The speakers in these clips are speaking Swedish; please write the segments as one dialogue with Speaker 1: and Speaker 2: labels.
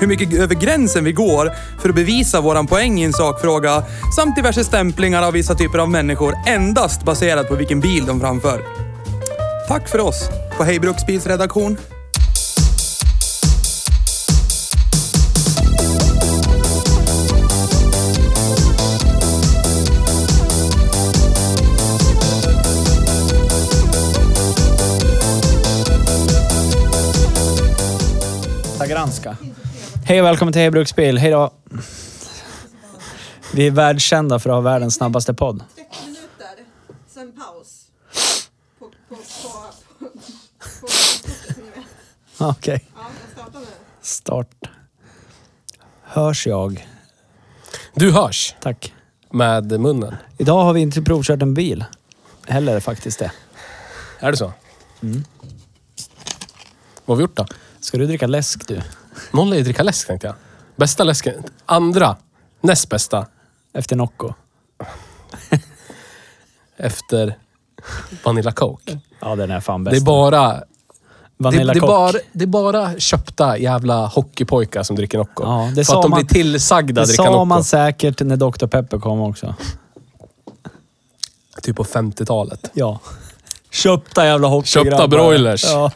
Speaker 1: Hur mycket över gränsen vi går för att bevisa våran poäng i en sakfråga samt diverse stämplingar av vissa typer av människor endast baserat på vilken bil de framför. Tack för oss på Hej Bruksbils redaktion.
Speaker 2: Tagranska. Hej och välkommen till Hej Bruksbil. Hej då. Vi är världskända för att ha världens snabbaste podd.
Speaker 3: 30 minuter, sen paus. På, på, på, på, på, på,
Speaker 2: Okej.
Speaker 3: ja, jag startar nu.
Speaker 2: Start. Hörs jag?
Speaker 4: Du hörs
Speaker 2: Tack.
Speaker 4: med munnen.
Speaker 2: Idag har vi inte provkört en bil. Heller faktiskt det.
Speaker 4: Är det så?
Speaker 2: Mm.
Speaker 4: Vad har vi gjort då?
Speaker 2: Ska du dricka läsk du?
Speaker 4: Någon lär ju dricka läsk tänkte jag. Bästa läsken. Andra. Näst bästa.
Speaker 2: Efter Nocco?
Speaker 4: Efter Vanilla Coke.
Speaker 2: Ja, den är fan bäst.
Speaker 4: Det är bara... Det, det,
Speaker 2: Vanilla
Speaker 4: är
Speaker 2: Coke.
Speaker 4: bara, det är bara köpta jävla hockeypojkar som dricker Nocco.
Speaker 2: Ja, det
Speaker 4: För
Speaker 2: sa
Speaker 4: att de
Speaker 2: man-
Speaker 4: blir tillsagda
Speaker 2: Det
Speaker 4: att dricka
Speaker 2: sa
Speaker 4: Nocco.
Speaker 2: man säkert när Dr. Pepper kom också.
Speaker 4: Typ på 50-talet.
Speaker 2: Ja. Köpta jävla hockeygrabbar.
Speaker 4: Köpta broilers.
Speaker 2: Ja.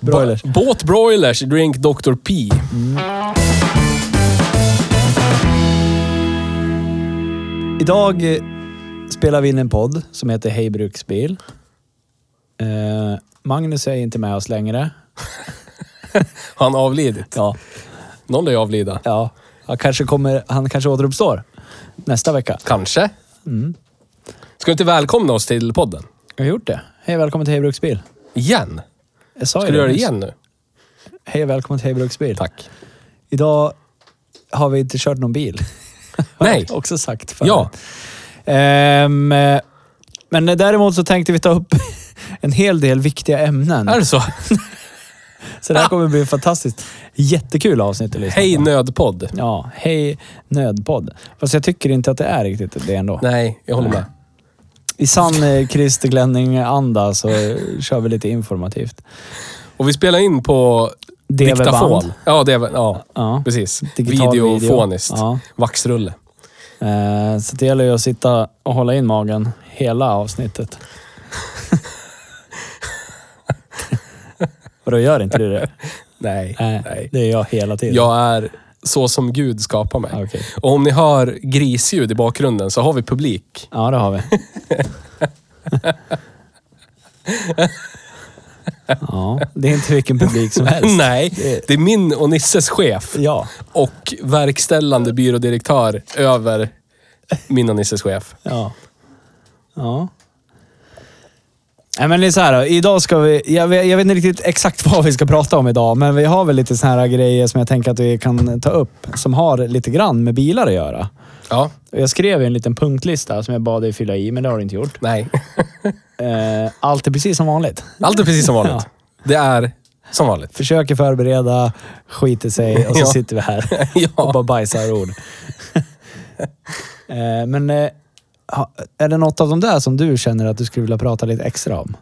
Speaker 2: Broilers.
Speaker 4: Ba- Båt broilers, drink Dr. P.
Speaker 2: Idag eh, spelar vi in en podd som heter Hej Bruksbil. Eh, Magnus är inte med oss längre.
Speaker 4: Har han avlidit?
Speaker 2: Ja.
Speaker 4: Någon lär ju avlida.
Speaker 2: ja. Han, kanske kommer, han kanske återuppstår nästa vecka.
Speaker 4: Kanske.
Speaker 2: Mm.
Speaker 4: Ska du inte välkomna oss till podden?
Speaker 2: Jag har gjort det. Hej välkommen till Hej Bruksbil.
Speaker 4: Igen?
Speaker 2: Jag sa
Speaker 4: Ska
Speaker 2: ju
Speaker 4: du göra det
Speaker 2: nyss.
Speaker 4: igen nu?
Speaker 2: Hej välkommen till Hej Bruksbil.
Speaker 4: Tack.
Speaker 2: Idag har vi inte kört någon bil. Har
Speaker 4: Nej.
Speaker 2: jag också sagt förut.
Speaker 4: Ja.
Speaker 2: Ehm, eh, men däremot så tänkte vi ta upp en hel del viktiga ämnen.
Speaker 4: Är det så?
Speaker 2: Så det här kommer bli fantastiskt. Jättekul avsnitt att lyssna
Speaker 4: Hej
Speaker 2: på.
Speaker 4: nödpodd.
Speaker 2: Ja, hej nödpodd. Fast jag tycker inte att det är riktigt det ändå.
Speaker 4: Nej, jag håller med.
Speaker 2: I sann eh, Christer Glenning-anda så eh, kör vi lite informativt.
Speaker 4: Och vi spelar in på
Speaker 2: DV-band.
Speaker 4: diktafon. Ja, det är, ja,
Speaker 2: Ja.
Speaker 4: precis.
Speaker 2: Digital video.
Speaker 4: Videofoniskt.
Speaker 2: Ja.
Speaker 4: Vaxrulle.
Speaker 2: Eh, Så det gäller ju att sitta och hålla in magen hela avsnittet. Vadå, gör inte du det?
Speaker 4: Nej.
Speaker 2: Nej, det gör jag hela tiden.
Speaker 4: Jag är så som Gud skapar mig.
Speaker 2: Ah, okej.
Speaker 4: Och om ni hör grisljud i bakgrunden så har vi publik.
Speaker 2: Ja, det har vi. ja, det är inte vilken publik som helst.
Speaker 4: Nej,
Speaker 2: Det-
Speaker 4: det är min och Nisses chef
Speaker 2: Ja,
Speaker 4: och verkställande byrådirektör över min och Nisses chef.
Speaker 2: ja. Ja. Nej, men det är så här då. Idag ska vi... Jag vet, jag vet inte riktigt exakt vad vi ska prata om idag, men vi har väl lite såna här grejer som jag tänker att vi kan ta upp, som har lite grann med bilar att göra.
Speaker 4: Ja,
Speaker 2: Och Jag skrev ju en liten punktlista som jag bad dig fylla i, men det har du inte gjort.
Speaker 4: nej.
Speaker 2: Eh, allt är precis som vanligt.
Speaker 4: Allt är precis som vanligt.
Speaker 2: Ja.
Speaker 4: Det är som vanligt.
Speaker 2: Försöker förbereda, skiter sig och så
Speaker 4: Ja.
Speaker 2: sitter vi här och bara
Speaker 4: Ja.
Speaker 2: bajsar ord. Eh, Men eh, ha- är det något av de där som du känner att du skulle vilja prata lite extra om?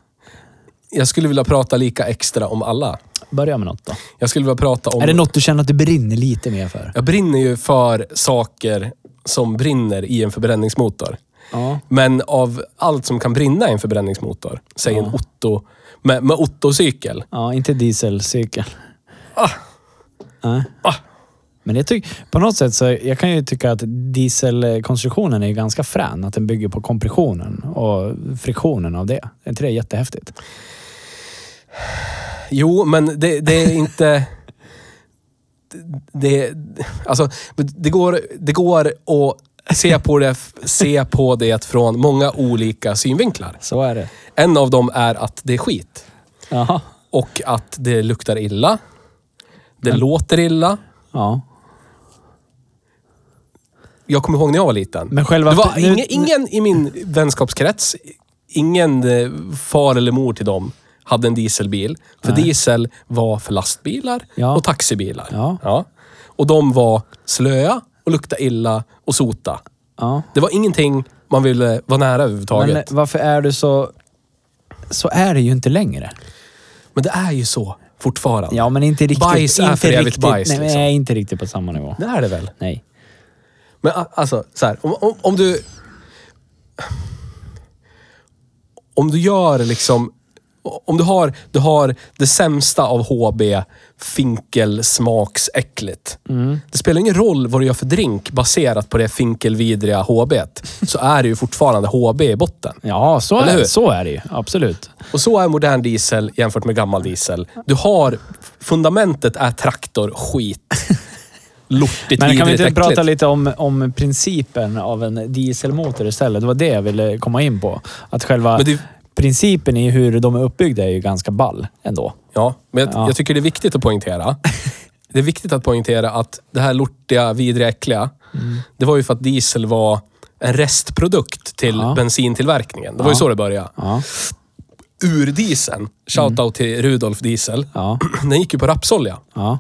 Speaker 4: Jag skulle vilja prata lika extra om alla.
Speaker 2: Börja med något då.
Speaker 4: Jag skulle vilja prata om...
Speaker 2: Är det något du känner att du brinner lite mer för?
Speaker 4: Jag brinner ju för saker som brinner i en förbränningsmotor.
Speaker 2: Ja.
Speaker 4: Men av allt som kan brinna i en förbränningsmotor, säg en Otto, med, med Otto-cykel.
Speaker 2: Ja, inte dieselcykel.
Speaker 4: Ah.
Speaker 2: Nej.
Speaker 4: Ah.
Speaker 2: Men jag tycker, på något sätt så, jag kan ju tycka att dieselkonstruktionen är ganska frän. Att den bygger på kompressionen och friktionen av det. Är inte det jättehäftigt?
Speaker 4: Jo, men det, det är inte... Det, alltså, det, går, det går att se på, det, se på det från många olika synvinklar.
Speaker 2: Så är det.
Speaker 4: En av dem är att det är skit.
Speaker 2: Jaha.
Speaker 4: Och att det luktar illa. Det låter illa.
Speaker 2: Ja.
Speaker 4: jag kommer ihåg när jag var liten.
Speaker 2: Men själva-
Speaker 4: det var
Speaker 2: nu-
Speaker 4: ingen, ingen i min vänskapskrets, ingen eh, far eller mor till dem, hade en dieselbil. För diesel var för lastbilar
Speaker 2: Ja.
Speaker 4: och taxibilar.
Speaker 2: Ja.
Speaker 4: Och de var slöa och lukta illa och sota.
Speaker 2: Ja.
Speaker 4: Det var ingenting man ville vara nära överhuvudtaget.
Speaker 2: Men eh,
Speaker 4: Men,
Speaker 2: varför är du så... Så är det ju inte längre.
Speaker 4: det är ju så fortfarande.
Speaker 2: Ja, men inte riktigt.
Speaker 4: Bajs är
Speaker 2: inte
Speaker 4: för jävligt
Speaker 2: riktigt,
Speaker 4: bajs,
Speaker 2: Nej,
Speaker 4: liksom.
Speaker 2: nej, inte riktigt på samma nivå.
Speaker 4: Det är det väl?
Speaker 2: Nej.
Speaker 4: Men a- alltså, så här, om, om, om du... Om du gör liksom... Om du har, du har det sämsta av HB, finkelsmaksäckligt.
Speaker 2: Mm.
Speaker 4: Det spelar ingen roll vad du gör för drink baserat på det finkelvidriga HB. Så är det ju fortfarande HB i botten.
Speaker 2: Ja, så
Speaker 4: Eller
Speaker 2: är,
Speaker 4: hur?
Speaker 2: så är det ju. Absolut.
Speaker 4: Och så är modern diesel jämfört med gammal diesel. Du har... Fundamentet är traktorskit. Lortigt,
Speaker 2: Men kan vi
Speaker 4: vidrigt,
Speaker 2: inte prata
Speaker 4: äckligt.
Speaker 2: lite om, om principen av en dieselmotor istället? Det var det jag ville komma in på. Att själva
Speaker 4: Men det-
Speaker 2: principen i hur de är uppbyggda är ju ganska ball ändå.
Speaker 4: Ja, men jag,
Speaker 2: Ja.
Speaker 4: jag tycker det är viktigt att poängtera. Det är viktigt att poängtera att det här lortiga, vidriga, äckliga,
Speaker 2: Mm.
Speaker 4: det var ju för att diesel var en restprodukt till
Speaker 2: Ja.
Speaker 4: bensintillverkningen. Det var ju
Speaker 2: Ja.
Speaker 4: så det började.
Speaker 2: Ja. Mm.
Speaker 4: Urdieseln, shoutout till Rudolf Diesel,
Speaker 2: Ja.
Speaker 4: den gick ju på rapsolja.
Speaker 2: Ja.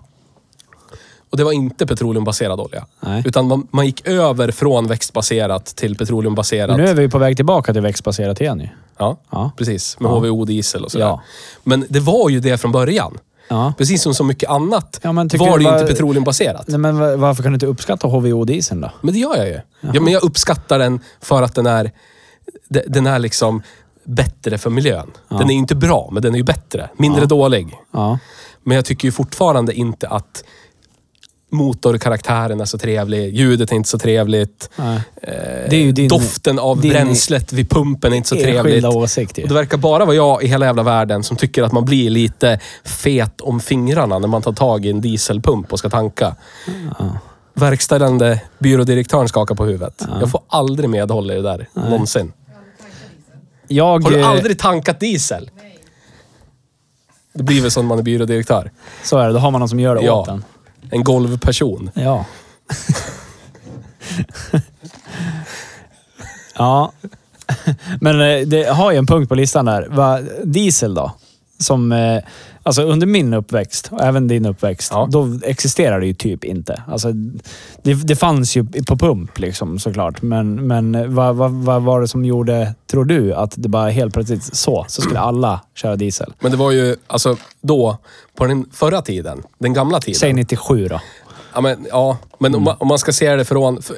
Speaker 4: Och det var inte petroleumbaserad olja.
Speaker 2: Nej.
Speaker 4: Utan man, man gick över från växtbaserat till petroleumbaserat.
Speaker 2: Men nu är vi ju på väg tillbaka till växtbaserat igen ju.
Speaker 4: Ja,
Speaker 2: Ja.
Speaker 4: precis. Med
Speaker 2: Ja.
Speaker 4: HVO-diesel och sådär.
Speaker 2: Ja.
Speaker 4: Men det var ju det från början.
Speaker 2: Ja.
Speaker 4: Precis som så mycket annat
Speaker 2: Ja, men tycker
Speaker 4: var
Speaker 2: du
Speaker 4: det ju
Speaker 2: bara-
Speaker 4: inte petroleumbaserat.
Speaker 2: Nej, men va- varför kan du inte uppskatta HVO-dieseln då?
Speaker 4: Men det gör jag ju. Ja, men jag uppskattar den för att den är, de- den är liksom bättre för miljön. Den är ju inte bra, men den är ju bättre. Mindre dålig.
Speaker 2: Ja.
Speaker 4: Men jag tycker ju fortfarande inte att motorkaraktären är så trevlig, ljudet är inte så trevligt,
Speaker 2: Nej. det är ju din
Speaker 4: Eh, doften av
Speaker 2: din
Speaker 4: bränslet vid pumpen är inte så trevligt.
Speaker 2: enskilda åsikt ju.
Speaker 4: Och det verkar bara vara jag i hela jävla världen som tycker att man blir lite fet om fingrarna när man tar tag i en dieselpump och ska tanka. Verkställande byrådirektören skakar på huvudet. Jag får aldrig medhåll i det där. Någonsin.
Speaker 2: Jag,
Speaker 4: Har du
Speaker 2: eh,
Speaker 4: aldrig tankat diesel? Det blir väl så när man är byrådirektör.
Speaker 2: Så är det, då har man någon som gör det
Speaker 4: Ja.
Speaker 2: åt en.
Speaker 4: En golvperson.
Speaker 2: Ja. ja. Men eh, det har ju en punkt på listan där. Va, diesel då? Som, eh, alltså under min uppväxt och även din uppväxt,
Speaker 4: Ja.
Speaker 2: då existerade det ju typ inte. Alltså, det, det fanns ju på pump liksom såklart, men, men vad, vad, vad var det som gjorde, tror du, att det bara helt plötsligt så, så skulle alla köra diesel?
Speaker 4: Men det var ju, alltså då, på den förra tiden, den gamla tiden.
Speaker 2: Säg 97 då.
Speaker 4: Ja, men, ja, men
Speaker 2: Mm.
Speaker 4: om, man, om man ska se det från... För,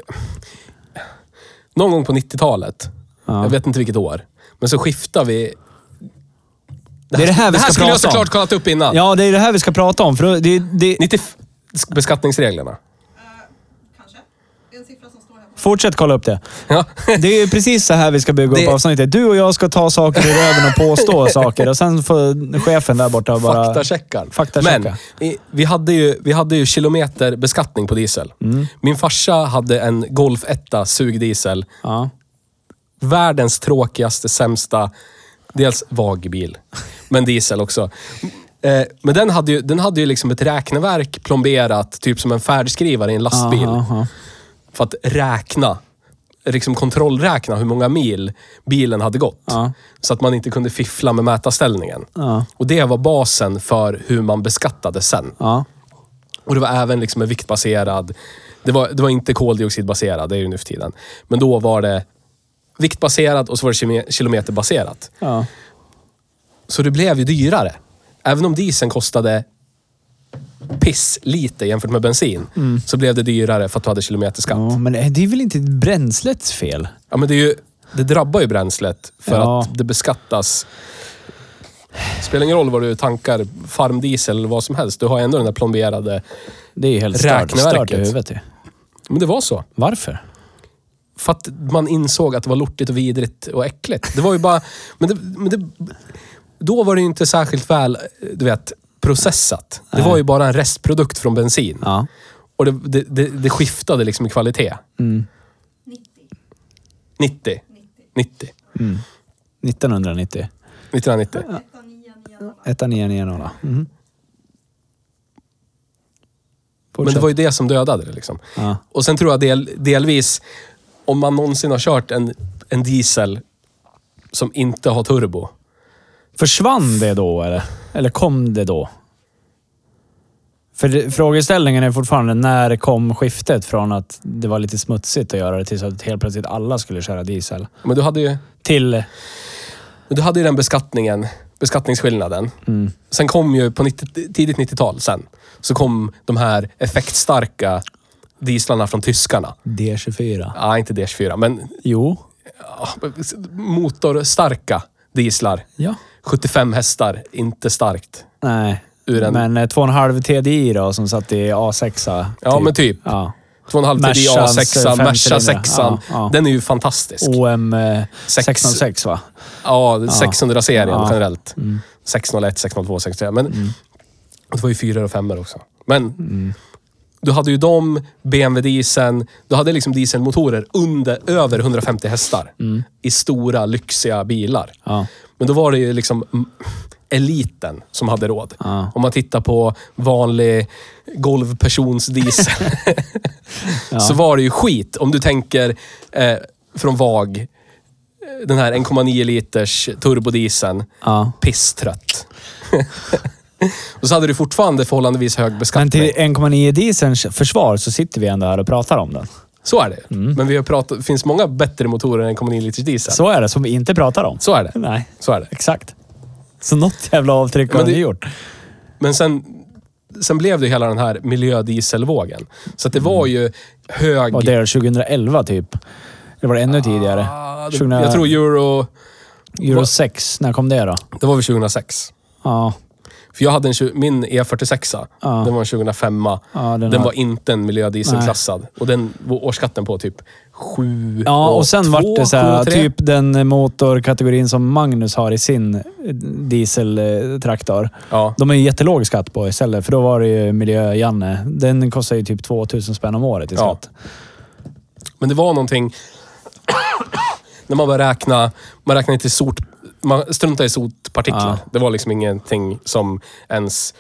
Speaker 4: någon gång på 90-talet, jag vet inte vilket år, men så skiftar vi...
Speaker 2: Det är det här vi
Speaker 4: det här
Speaker 2: ska
Speaker 4: skulle
Speaker 2: prata
Speaker 4: jag såklart
Speaker 2: om.
Speaker 4: kollat upp innan.
Speaker 2: Ja, det är det här vi ska prata om. För då- det, det,
Speaker 4: 90, f- beskattningsreglerna.
Speaker 3: Kanske. Det är en siffra som står här. på-
Speaker 2: Fortsätt kolla upp det.
Speaker 4: Ja.
Speaker 2: Det är ju precis så här vi ska bygga upp
Speaker 4: Det-
Speaker 2: avsnittet. Du och jag ska ta saker ur röven och påstå saker och sen får chefen där borta bara...
Speaker 4: Faktacheckaren.
Speaker 2: Faktachecka.
Speaker 4: Men i- vi hade, ju, vi hade ju kilometerbeskattning på diesel.
Speaker 2: Mm.
Speaker 4: Min farsa hade en Golf 1 sugdiesel.
Speaker 2: Ja.
Speaker 4: Världens tråkigaste, sämsta... Dels vagbil, men diesel också. Eh, Men den hade, ju, den hade ju liksom ett räkneverk plomberat, typ som en färdskrivare i en lastbil.
Speaker 2: Aha, aha.
Speaker 4: För att räkna, liksom kontrollräkna hur många mil bilen hade gått.
Speaker 2: Ja.
Speaker 4: Så att man inte kunde fiffla med mätarställningen.
Speaker 2: Ja.
Speaker 4: Och det var basen för hur man beskattade sen.
Speaker 2: Ja.
Speaker 4: Och det var även liksom en viktbaserad... Det var, det var inte koldioxidbaserad, det är ju nu för tiden. Men då var det viktbaserat och så var det kime- kilometerbaserat.
Speaker 2: Ja.
Speaker 4: Så det blev ju dyrare. Även om dieseln kostade piss lite jämfört med bensin, så blev det dyrare för att du hade kilometerskatt.
Speaker 2: Mm. ja. Men det är väl inte bränslets fel?
Speaker 4: Ja, men det, är ju, det drabbar ju bränslet för
Speaker 2: Ja.
Speaker 4: att det beskattas. Det spelar ingen roll vad du tankar, farmdiesel eller vad som helst. Du har ändå den där plomberade...
Speaker 2: Det är ju helt stört,
Speaker 4: Räkneverket.
Speaker 2: stört i huvudet ju.
Speaker 4: Men det var så.
Speaker 2: Varför?
Speaker 4: För att man insåg att det var lortigt och vidrigt och äckligt. Det var ju bara... Men det, men det, då var det ju inte särskilt väl, du vet, processat. Det var ju bara en restprodukt från bensin.
Speaker 2: Ja.
Speaker 4: Och det, det, det, det skiftade liksom i kvalitet.
Speaker 2: Mm.
Speaker 3: 90.
Speaker 4: 90. 90.
Speaker 2: 1990.
Speaker 4: 1990.
Speaker 2: Mhm.
Speaker 3: 1, 9, 9, 0.
Speaker 2: 1990. Mm.
Speaker 4: Men det var ju det som dödade det. Liksom.
Speaker 2: Ja.
Speaker 4: Och sen tror jag del, delvis, om man någonsin har kört en, en diesel som inte har turbo.
Speaker 2: Försvann det då eller? Eller kom det då? För det, frågeställningen är fortfarande, när kom skiftet från att det var lite smutsigt att göra det tills att helt plötsligt alla skulle köra diesel?
Speaker 4: Men du hade ju,
Speaker 2: Till...
Speaker 4: men du hade ju den beskattningen, beskattningsskillnaden.
Speaker 2: Mm.
Speaker 4: Sen kom ju på 90, tidigt 90-tal sen, så kom de här effektstarka dieslarna från tyskarna.
Speaker 2: D24.
Speaker 4: Ja, inte DS4, men
Speaker 2: Jo.
Speaker 4: ja, motorstarka dieslar.
Speaker 2: Ja.
Speaker 4: 75 hästar, inte starkt.
Speaker 2: Nej.
Speaker 4: Ur en-
Speaker 2: Men eh, 2,5 TDI då, som satt i A6.
Speaker 4: Ja, men typ.
Speaker 2: Ja.
Speaker 4: 2,5 TDI
Speaker 2: Mercans, eh,
Speaker 4: A6, Merca
Speaker 2: femcylindrar.
Speaker 4: 6
Speaker 2: Ja, ja.
Speaker 4: Den är ju fantastisk.
Speaker 2: OM eh,
Speaker 4: Sex.
Speaker 2: 606 va?
Speaker 4: Ja, 600-serien
Speaker 2: Ja. Mm.
Speaker 4: generellt. 601, 602, 603. Men och det var ju 4 och 5 också. Men
Speaker 2: Mm.
Speaker 4: du hade ju dem, BMW dieseln. Du hade liksom dieselmotorer under, över 150 hästar. I stora, lyxiga bilar.
Speaker 2: Mm. Ja.
Speaker 4: Men då var det ju liksom mm, eliten som hade råd.
Speaker 2: Ja.
Speaker 4: Om man tittar på vanlig golvpersonsdiesel så var det ju skit. Om du tänker eh, från VAG, eh, den här 1,9 liters turbodieseln.
Speaker 2: Ja.
Speaker 4: Pisstrött. och så hade du fortfarande förhållandevis hög
Speaker 2: Men
Speaker 4: beskattning.
Speaker 2: till 1,9 dieselns försvar så sitter vi ändå här och pratar om den.
Speaker 4: Så är det. Men vi har pratat, det finns många bättre motorer än 1,9 liters diesel. Så,
Speaker 2: Mm. Så är det, som vi inte pratar om.
Speaker 4: är det.
Speaker 2: Nej,
Speaker 4: Så är det.
Speaker 2: exakt. Så något jävla avtryck har
Speaker 4: Men det-
Speaker 2: ni gjort.
Speaker 4: Men sen, sen blev det ju hela den här miljödieselvågen. Så att det var ju hög...
Speaker 2: Vad det är 2011 typ? Eller var det ännu tidigare?
Speaker 4: Ah, det-
Speaker 2: 2000,
Speaker 4: Jag tror euro...
Speaker 2: Euro 6, när kom det då?
Speaker 4: Det var väl 2006.
Speaker 2: Ja,
Speaker 4: För jag hade en, tju- min E46,
Speaker 2: Ja.
Speaker 4: den var en 2005.
Speaker 2: Ja, den
Speaker 4: den
Speaker 2: har-
Speaker 4: var inte en miljödieselklassad. Och den var årsskatten på typ 7
Speaker 2: ja och sen vart det så här, typ
Speaker 4: typ...
Speaker 2: den motorkategorin som Magnus har i sin eh, dieseltraktor.
Speaker 4: Ja.
Speaker 2: De är ju jättelåg skatt på istället, för då var det ju miljö-Janne. Den kostar ju typ 2000 spänn om året i
Speaker 4: Ja.
Speaker 2: skatt.
Speaker 4: Men det var någonting... när man började räkna, man räknade inte sot... Man struntade i sotpartiklar.
Speaker 2: Ja.
Speaker 4: Det var liksom ingenting som ens...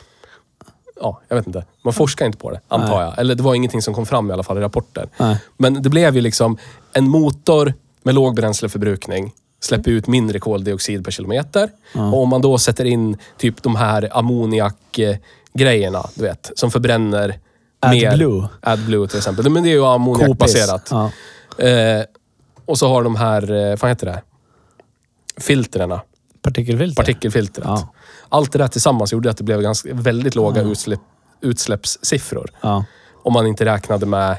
Speaker 4: Ja, jag vet inte. Man forskar inte på det, antar jag. Eller det var ingenting som kom fram i alla fall i rapporter.
Speaker 2: Nej.
Speaker 4: Men det blev ju liksom en motor med låg bränsleförbrukning släpper ut mindre koldioxid per kilometer. Och om man då sätter in typ de här ammoniakgrejerna, du vet, som förbränner
Speaker 2: AdBlue.
Speaker 4: mer. AdBlue till exempel. Men det är ju ammoniakbaserat.
Speaker 2: Kopiss. Ja.
Speaker 4: Eh, och så har de här, eh, vad heter det? Filtrerna.
Speaker 2: Partikelfilter.
Speaker 4: Partikelfiltret.
Speaker 2: Ja.
Speaker 4: Allt det där tillsammans gjorde att det blev ganska, väldigt låga utsläpp, utsläppssiffror.
Speaker 2: ja.
Speaker 4: Om man inte räknade med
Speaker 2: Jag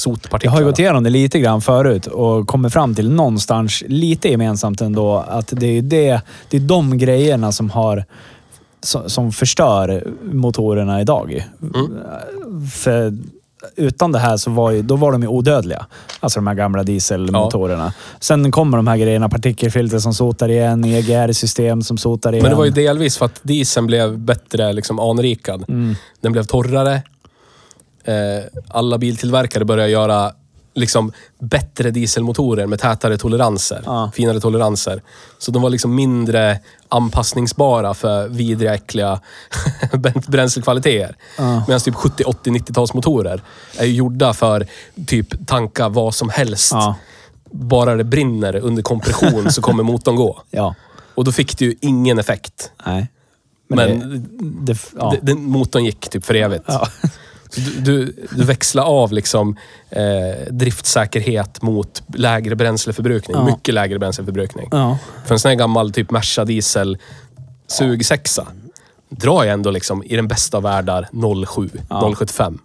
Speaker 4: sotpartiklarna.
Speaker 2: har ju gått igenom det lite grann förut och kommit fram till någonstans lite gemensamt ändå att det är, det, det är de grejerna som har som, som förstör motorerna idag.
Speaker 4: Mm.
Speaker 2: För utan det här så var, ju, då var de ju odödliga. Alltså de här gamla dieselmotorerna. Sen kommer de här grejerna, partikelfilter som sotar igen, EGR-system som sotar igen.
Speaker 4: Men det var ju delvis för att dieseln blev bättre liksom, anrikad.
Speaker 2: Mm.
Speaker 4: Den blev torrare. Eh, alla biltillverkare började göra liksom, bättre dieselmotorer med tätare toleranser.
Speaker 2: Ja.
Speaker 4: Finare toleranser. Så de var liksom mindre anpassningsbara för vidriga, äckliga bränslekvaliteter.
Speaker 2: Ja.
Speaker 4: Medan typ 70, 80, 90-talsmotorer är ju gjorda för typ tanka vad som helst.
Speaker 2: Ja.
Speaker 4: Bara det brinner under kompression så kommer motorn gå.
Speaker 2: Ja.
Speaker 4: Och då fick det ju ingen effekt.
Speaker 2: Nej.
Speaker 4: Men
Speaker 2: det, det, ja.
Speaker 4: D- Den motorn gick typ för evigt.
Speaker 2: Ja.
Speaker 4: Så du, du, du växlar av liksom, eh, driftsäkerhet mot lägre bränsleförbrukning.
Speaker 2: Ja.
Speaker 4: Mycket lägre bränsleförbrukning.
Speaker 2: ja.
Speaker 4: För en sån här gammal typ Merca diesel sugsexa drar jag ändå liksom i den bästa av världar 07, 075.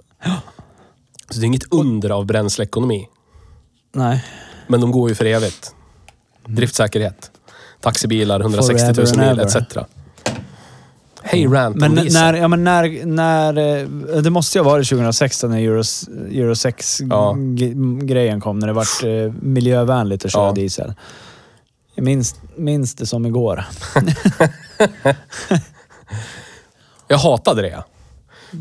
Speaker 4: Så det är inget under av bränsleekonomi.
Speaker 2: Nej.
Speaker 4: Men de går ju för evigt. Driftsäkerhet. Taxibilar, 160 000
Speaker 2: Mm. Forever and
Speaker 4: mil
Speaker 2: ever. Mm.
Speaker 4: etc. Hej rant om
Speaker 2: Men
Speaker 4: diesel.
Speaker 2: när, ja, men när, när, eh, det måste ju ha varit 2016 när Euro, Euro 6-grejen
Speaker 4: Ja.
Speaker 2: kom, när det vart eh, miljövänligt att köra
Speaker 4: Ja.
Speaker 2: diesel. Jag minns, minns det som igår.
Speaker 4: Jag hatade det.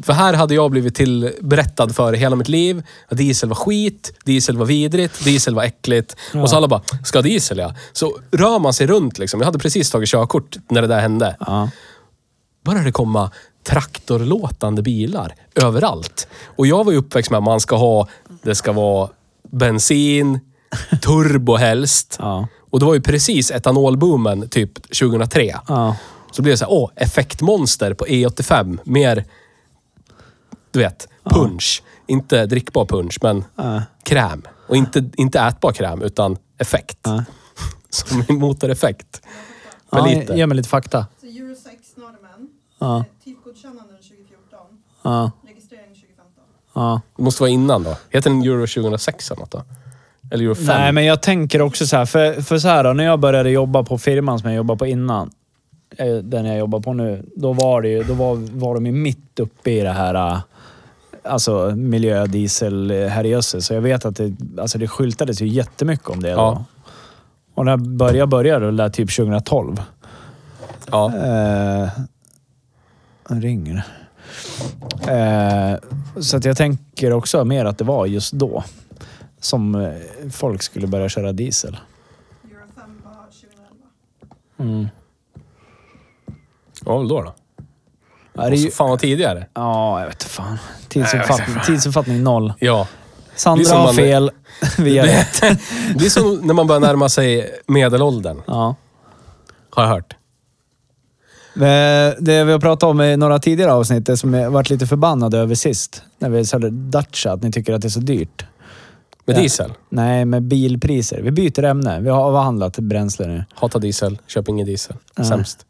Speaker 4: För här hade jag blivit tillberättad för i hela mitt liv att diesel var skit, diesel var vidrigt, diesel var äckligt. Och så alla bara, ska diesel ja. Så rör man sig runt liksom. Jag hade precis tagit körkort när det där hände.
Speaker 2: Ja.
Speaker 4: Började det komma traktorlåtande bilar överallt. Och jag var ju uppväxt med att man ska ha, det ska vara bensin, turbo helst.
Speaker 2: Ja.
Speaker 4: Och det var ju precis etanolboomen typ 2003.
Speaker 2: Ja.
Speaker 4: Så blev det så här, åh, effektmonster på E85. Mer, du vet, punch. Inte drickbar punch, men kräm. Och inte, inte ätbar kräm, utan effekt. Som en motoreffekt. För
Speaker 2: Ja,
Speaker 4: lite.
Speaker 2: Ge mig lite fakta.
Speaker 3: Så Euro eh, 6-normen,
Speaker 2: Ja.
Speaker 3: typgodkännanden 2014,
Speaker 2: Ja.
Speaker 3: registrering 2015.
Speaker 2: Ja.
Speaker 4: Det måste vara innan då. Heter den Euro 2006 eller något då? Eller Euro 5?
Speaker 2: Nej, men jag tänker också så här. För, för så här då, när jag började jobba på firman som jag jobbade på innan, eh, den jag jobbar på nu, då var, det ju, då var, var de ju mitt uppe i det här eh, alltså miljö, diesel, eh, herrejösses. Så jag vet att det, alltså, det skyltades ju jättemycket om det då.
Speaker 4: Ja.
Speaker 2: Och när jag började, började då, lät typ 2012.
Speaker 4: Ja.
Speaker 2: Eh, han ringer. Eh, så att jag tänker också mer att det var just då som eh, folk skulle börja köra diesel.
Speaker 3: Euro 5 var 2011.
Speaker 4: Ja, väl då då.
Speaker 2: Ja, det är ju,
Speaker 4: Fan vad tidigare.
Speaker 2: ja, jag vet inte fan. Tidsuppfattning, tidsuppfattning noll.
Speaker 4: Ja. Det är
Speaker 2: Sandra
Speaker 4: som
Speaker 2: har
Speaker 4: man-
Speaker 2: fel. Vi gör rätt.
Speaker 4: Det är som när man börjar närma sig medelåldern,
Speaker 2: Ja.
Speaker 4: har jag hört.
Speaker 2: Eh, Det vi har pratat om i några tidigare avsnitt, det som jag varit lite förbannad över sist, när vi sålde Dacia, att ni tycker att det är så dyrt.
Speaker 4: Med
Speaker 2: Ja.
Speaker 4: diesel.
Speaker 2: Nej, med bilpriser. Vi byter ämne. Vi har avhandlat bränsle nu.
Speaker 4: Hatar diesel, köp ingen diesel.
Speaker 2: Nej.
Speaker 4: Sämst.